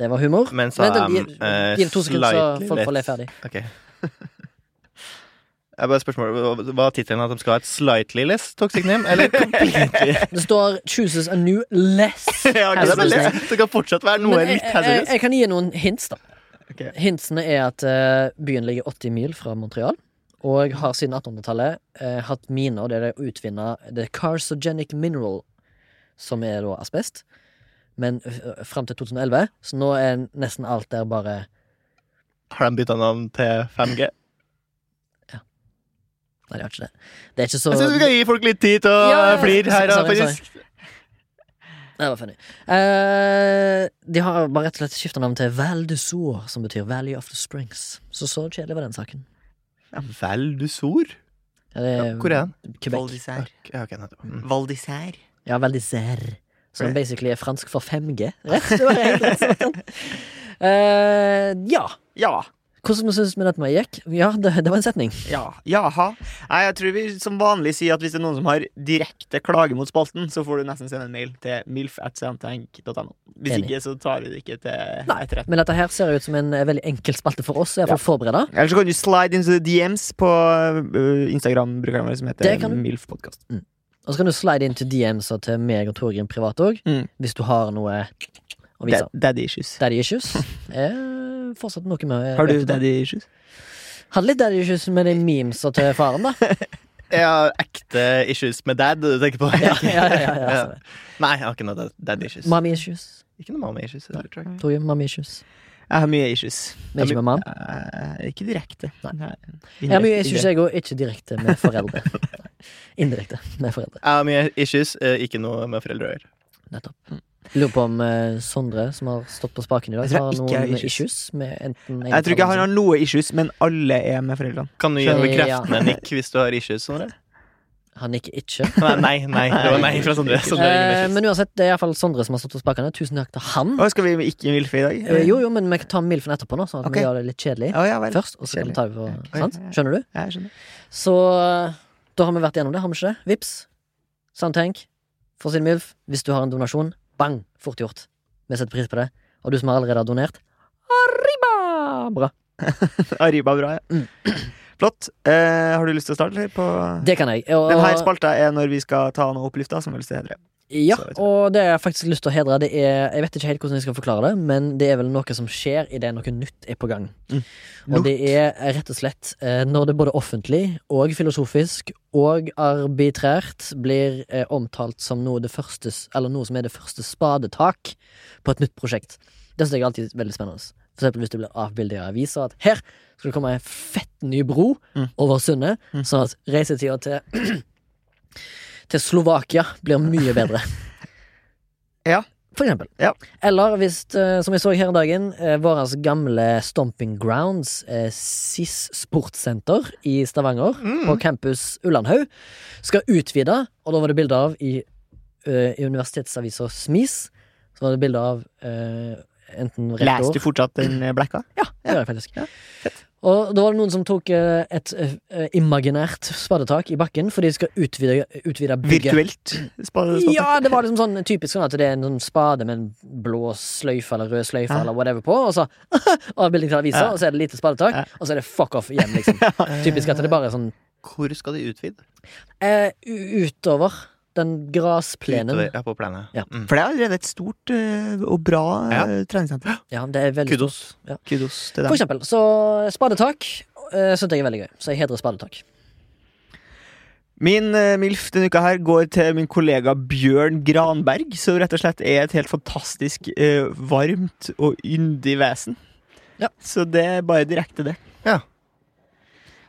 Det var humor.
Men så
Vent,
er
gi,
eh,
gi en to sekunder, så
slightly
folk får le
less-
ferdig.
Ok. Jeg bare spørsmål, hva- Hva er tittelen? At de skal ha et slightly less toxic name?
(laughs)
Eller completely?
Det står 'chooses a new less'.
(laughs) Ja, ok,
Det, er
hazardous
veldig-
name.
det kan fortsatt være
Men
noe
eh, jeg,
litt
jeg,
hazardous.
jeg kan gi noen hints, da.
Ok.
Hintsene er at eh, byen ligger 80 mil fra Montreal. Og har siden 1800-tallet eh, hatt miner der de utvinner the carcogenic mineral, som er da asbest. Men uh, fram til 2011, så nå er nesten alt der bare eh.
Har de bytta navn til 5G?
Nei, de har ikke det. Det er ikke så
Jeg syns vi skal gi folk litt tid til å
Ja, ja, ja.
flire her. da,
Sorry, sorry.
faktisk.
Det var funny. Eh, de har bare rett og slett skifta navn til Val du Sour, som betyr Valley of the Springs. Så så kjedelig var den saken.
Vel, du sor.
Ja, det er
Ja, hvor er den?
Quebec.
Val d'Isère.
Ja, ok, nettopp. Mm.
Val d'Isère.
Ja, veldig serr. Som
Right.
basically er fransk for
(laughs)
5G. Rett, det var helt rett sånn. Eh, ja.
Ja.
Hvordan syns vi dette med gikk? Ja, det, det var en setning.
Ja, jaha. Nei, jeg tror vi som vanlig sier at hvis det er noen som har direkte klage mot spalten, så får du nesten sende en mail til milf.samtank.no. Hvis
Enig.
ikke, så tar vi det ikke til
Nei.
etterretning.
Men dette her ser ut som en eh, veldig enkel spalte for oss. så Jeg får forberede.
Eller så kan du slide into the DMs på øh, Instagram-brukeren vår som
Det
heter
kan du.
milfpodkast.
Og så kan du slide inn til DM-sa til meg og Torgrim privat òg,
Mm.
hvis du har noe å vise.
Da- Daddy issues.
Daddy issues er fortsatt noe med eh,
Har du daddy issues?
Hadde litt daddy issues med de memesa til faren, da.
Jeg har ekte issues med dad, du tenker på.
Ja, ja, ja, ja,
(laughs) Ja.
så det.
Nei, jeg har ikke noe dad- dad issues.
Mommy issues.
Ikke noe mamma issues. Eller, tror jeg.
Torgrim, mommy issues.
Jeg har mye issues.
Men ikke med mam.
Eh, ikke direkte. Nei.
Ja, men jeg syns jeg går ikke direkte med (laughs) foreldre. Indirekte med foreldre.
Jeg har mye issues, eh, ikke noe med foreldre å gjøre.
Nettopp. Lurer på om eh, Sondre, som har stått på spaken i dag,
Jeg tror
har
ikke
noen
jeg har issues.
issues med enten
Jeg tror ikke han har noe issues, men alle er med foreldrene.
Kan du gi en
Skjønner.
bekreftende nikk hvis du har issues? Sondre?
Han nikker
(laughs)
ikke.
Nei, nei, nei, det var nei fra Sondre. Sondre har ingen
Eh,
issues.
men uansett, det er iallfall Sondre som har stått på spakene. Tusen takk til han.
Å, skal vi ikke milfe i dag?
Eh, Jo, jo, men vi kan ta Milfen etterpå, nå, sånn at
Ok.
vi gjør det litt kjedelig
Å, ja vel.
først. Og så kan vi ta det på,
Kjedelig.
sant?
Ok.
Skjønner du?
Jeg skjønner.
Så eh, da har vi vært gjennom det, har vi ikke det? Vips. Sant tenk. For sin milf. Hvis du har en donasjon, bang! Fort gjort. Vi setter pris på det. Og du som allerede har donert, arriba! Bra.
Arriba bra, ja.
Mm.
Flott. Eh, har du lyst til å starte, eller? På
Det kan jeg. Og,
Den her spalta er når vi skal ta noe opp i lufta, som helst det heter.
ja,
så vet jeg.
og det jeg faktisk lyst til å hedre, det er Jeg vet ikke helt hvordan jeg skal forklare det, men det er vel noe som skjer idet noe nytt er på gang.
Mm.
Og det er rett og slett eh, når det er både offentlig og filosofisk og arbitrært blir eh, omtalt som noe, det første, s- eller noe som er det første spadetak på et nytt prosjekt. Det synes jeg alltid er veldig spennende. For eksempel hvis det blir avbildet i aviser at her skal det komme en fett ny bro
Mm.
over sundet, sånn at reisetida til (clears throat) til Slovakia blir mye bedre.
(laughs) Ja.
For eksempel.
Ja.
Eller hvis, eh, som jeg så her om dagen, eh, våres gamle Stomping Grounds, eh, SIS sportssenter i Stavanger,
Mm.
på campus Ullandhaug, skal utvide, og da var det bilde av i, eh, i universitetsavisa Smis, så var det bilde av eh, enten rektor
Leser du fortsatt den eh, blekka?
(laughs) ja, det gjør jeg faktisk. Og da var det noen som tok eh, et eh, imaginært spadetak i bakken, for de skal utvide, utvide bygget.
Virtuelt? Spade, spade.
Ja, det var liksom sånn typisk sånn at det er en sånn spade med en blå sløyfe eller rød sløyfe
Ja.
eller whatever på, og så (laughs) avbildning til aviser,
Ja.
og så er det lite spadetak,
Ja.
og så er det fuck off igjen, liksom. Typisk at det bare er sånn
Hvor skal de utvide?
eh, u- utover den grasplenen.
Utover- Ja, på plenen.
Ja.
Mm.
For det er allerede et stort eh, og bra
Ja.
eh, treningssenter.
Ja, det er veldig
Kudos.
(gasps) Kudos til
For
dem.
eksempel, så spadetak eh, syns jeg er veldig gøy, så jeg hedrer spadetak.
Min eh, MILF denne uka her går til min kollega Bjørn Granberg, som rett og slett er et helt fantastisk eh, varmt og yndig vesen.
Ja.
Så det er bare direkte det.
Ja.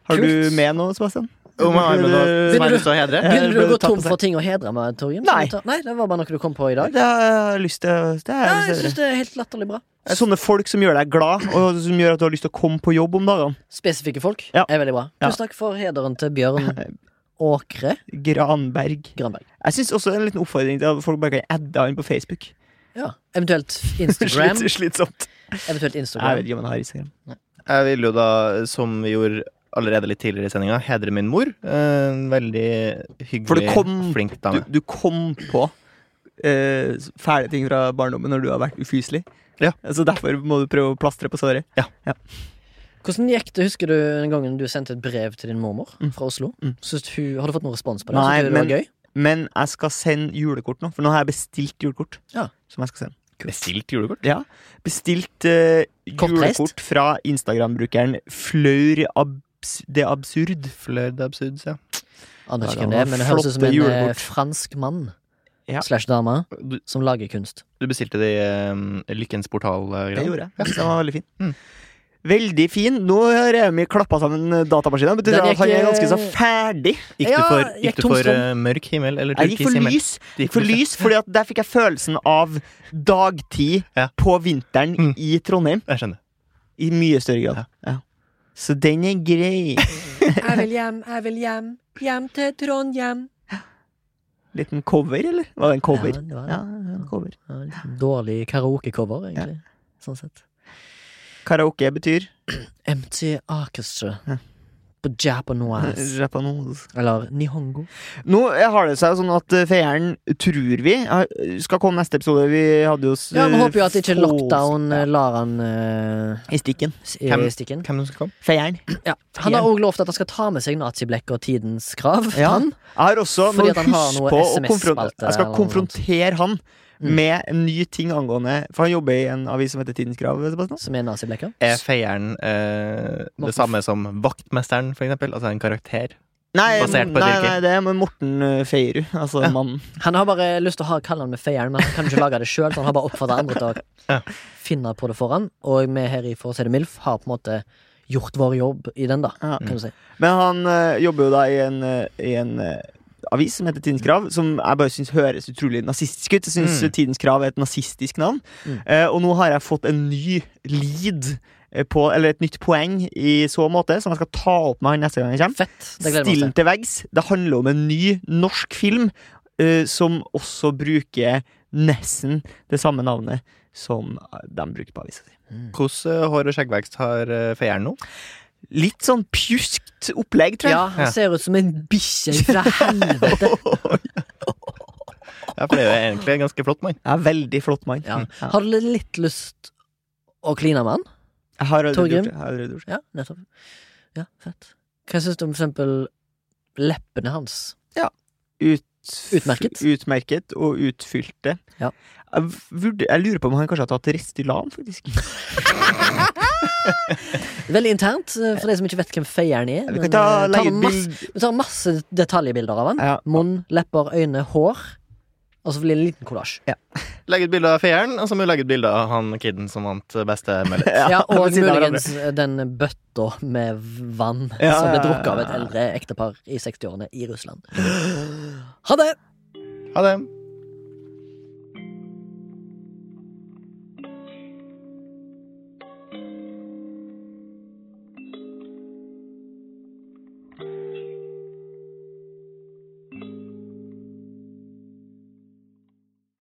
Har
Kult.
du med noe, Sebastian?
Om jeg har med noe
Begynner
som jeg har
du-
lyst til å hedre?
Ja.
Begynner du å
ble
gå
det Eh, tatt
tom
på seg.
for ting å hedre med, Torgen?
Nei.
Nei, det var bare noe du kom på i dag.
Det har jeg lyst til å- det har
Ja,
jeg
jeg
lyst til å
syns det er helt latterlig bra.
gjøre. Sånne folk som gjør deg glad, og som gjør at du har lyst til å komme på jobb om dagene.
Spesifikke folk
Ja.
er veldig bra.
Ja.
Tusen takk for hederen til Bjørn
(laughs)
Åkre
Granberg.
Granberg.
Jeg syns også det er en liten oppfordring til at folk bare kan adde han
(laughs)
på Facebook.
Ja.
(laughs)
Eventuelt Instagram.
Slit- Slitsomt.
Eventuelt
Jeg vet
Instagram.
ikke om han har Instagram.
Jeg vil jo da, som vi gjorde allerede litt tidligere i sendinga, hedre min mor. En veldig hyggelig,
For det kom-
flink
Du,
dame.
du kom på eh, fæle ting fra barndommen når du har vært ufyselig.
Ja.
Så derfor må du prøve å plastre på såret.
Hvordan gikk det, husker du den gangen du sendte et brev til din mormor fra Oslo?
Mm.
Syns hun, har du fått noen respons på det? Syns
Nei,
du det
men-
var gøy?
Men jeg skal sende julekort nå, for nå har jeg bestilt julekort.
Ja.
Som jeg skal sende.
Bestilt julekort.
Ja. Bestilt eh,
Kortreist?
julekort fra Instagram-brukeren Flaur abs det absurd.
Fløyd absurd, ja.
Aner ikke
Ja,
hvem det
det var
er, men det høres ut som
flotte
en eh,
julekort.
fransk mann
Ja.
slash dame
Du,
som lager kunst.
du bestilte de um, Lykkens eh,
Det
portal-greiene?
gjorde jeg. Den var veldig fin.
Mm.
Veldig fin. Nå har Remi klappa sammen datamaskinen. Betyr
Den
at han
gikk,
er
eh,
ganske så ferdig.
Gikk
Ja,
du for,
jeg
gikk du
tom
for
strøm.
uh, mørk himmel eller
Jeg gikk
turkis
for
himmel?
lys.
Du gikk
For lys, fordi at der fikk jeg følelsen av dagtid
Ja.
på vinteren
Mm.
i Trondheim.
Jeg skjønner.
I mye større grad. Ja. Så den er grei.
Jeg vil hjem, jeg vil hjem. Hjem til Trondhjem.
Liten cover, eller? Var det en cover?
Ja, det var det.
Ja, en cover.
Ja, litt Dårlig karaoke-cover, egentlig. Sånn sett.
Karaoke betyr
MT Orchestra
Ja.
på
(laughs)
Japanese.
(laughs) Japanese.
Eller Nihongo.
Nå har det seg sånn at eh, feieren, tror vi, har- skal komme neste episode. Vi hadde jo s-
Ja, Vi håper jo at ikke
få-
lockdown eh, lar han eh,
I stikken.
s-
Hvem-
i stikken.
Hvem som skal komme?
Feieren.
Ja. Han har òg lovt at han skal ta med seg naziblekket og tidens krav.
Ja.
Han.
Jeg har også
Fordi
må
at han har
huske
noe
på å
SMS-spalte
konfrontere Jeg skal
eller noe
konfrontere han
Mm.
med en ny ting angående For han jobber i en avis som heter Tidens Krav. Sebastian.
Som er naziblekket.
Er feieren eh,
Morten.
det samme som vaktmesteren, for eksempel? Altså en karakter?
Nei,
Basert på et
nei,
yrke.
nei, det er med Morten eh, Feierud. Altså mannen.
Han har bare lyst til å ha kalle han med feieren, men han kan ikke lage det sjøl. Så han har bare oppfordra andre til å
Ja.
finne på det for han. Og vi her i For å si det MILF har på en måte gjort vår jobb i den, da.
Ja.
Mm.
Kan du si.
Men han eh, jobber jo da i en, eh, i en eh, avis som heter Tidens Krav, som jeg bare syns høres utrolig nazistisk ut. Jeg syns
Mm.
Tidens Krav er et nazistisk navn.
Mm.
Eh, og nå har jeg fått en ny lead, eh, på, eller et nytt poeng i så måte, som jeg skal ta opp med han neste gang jeg kommer.
Fett. Det gleder vi
Stillen
oss til.
til veggs. Det handler om en ny norsk film eh, som også bruker nesten det samme navnet som de brukte på avisa si.
Hvordan eh, hår- og skjeggvekst har eh, feieren nå?
Litt sånn pjuskt opplegg, tror jeg.
Ja, han ser ut som en bikkje fra
(laughs)
helvete.
Ja, for det er jo egentlig en ganske flott mann.
Jeg er veldig flott mann.
Ja.
Mm. Ja.
Har du litt lyst å kline med han?
Jeg har allerede
Torgrim?
gjort det. Jeg har allerede gjort det.
Ja, nettopp. Ja, fett. Hva syns du om for eksempel leppene hans?
Ut-
Utmerket.
Utmerket og utfylte.
Ja. (laughs)
Jeg, vurd- jeg lurer på om han kanskje har tatt Restylan, faktisk.
Veldig internt, eh, for de som ikke vet hvem feieren er.
Vi
men,
kan ta
eh, tar
legge ut
masse,
(laughs)
bild
vi tar masse detaljbilder av han.
ja.
Munn, lepper, øyne, hår. Og så blir det en liten kollasj.
Legg ut bilde av feieren, og så må vi legge ut bilde av han kiden som vant eh, beste mullet.
Ja, og
(laughs) ved siden av
muligens den bøtta med vann
Ja,
som
ja,
ble
ja,
drukket av et
ja.
eldre ektepar i 60-årene i Russland. Ha det!
Ha det.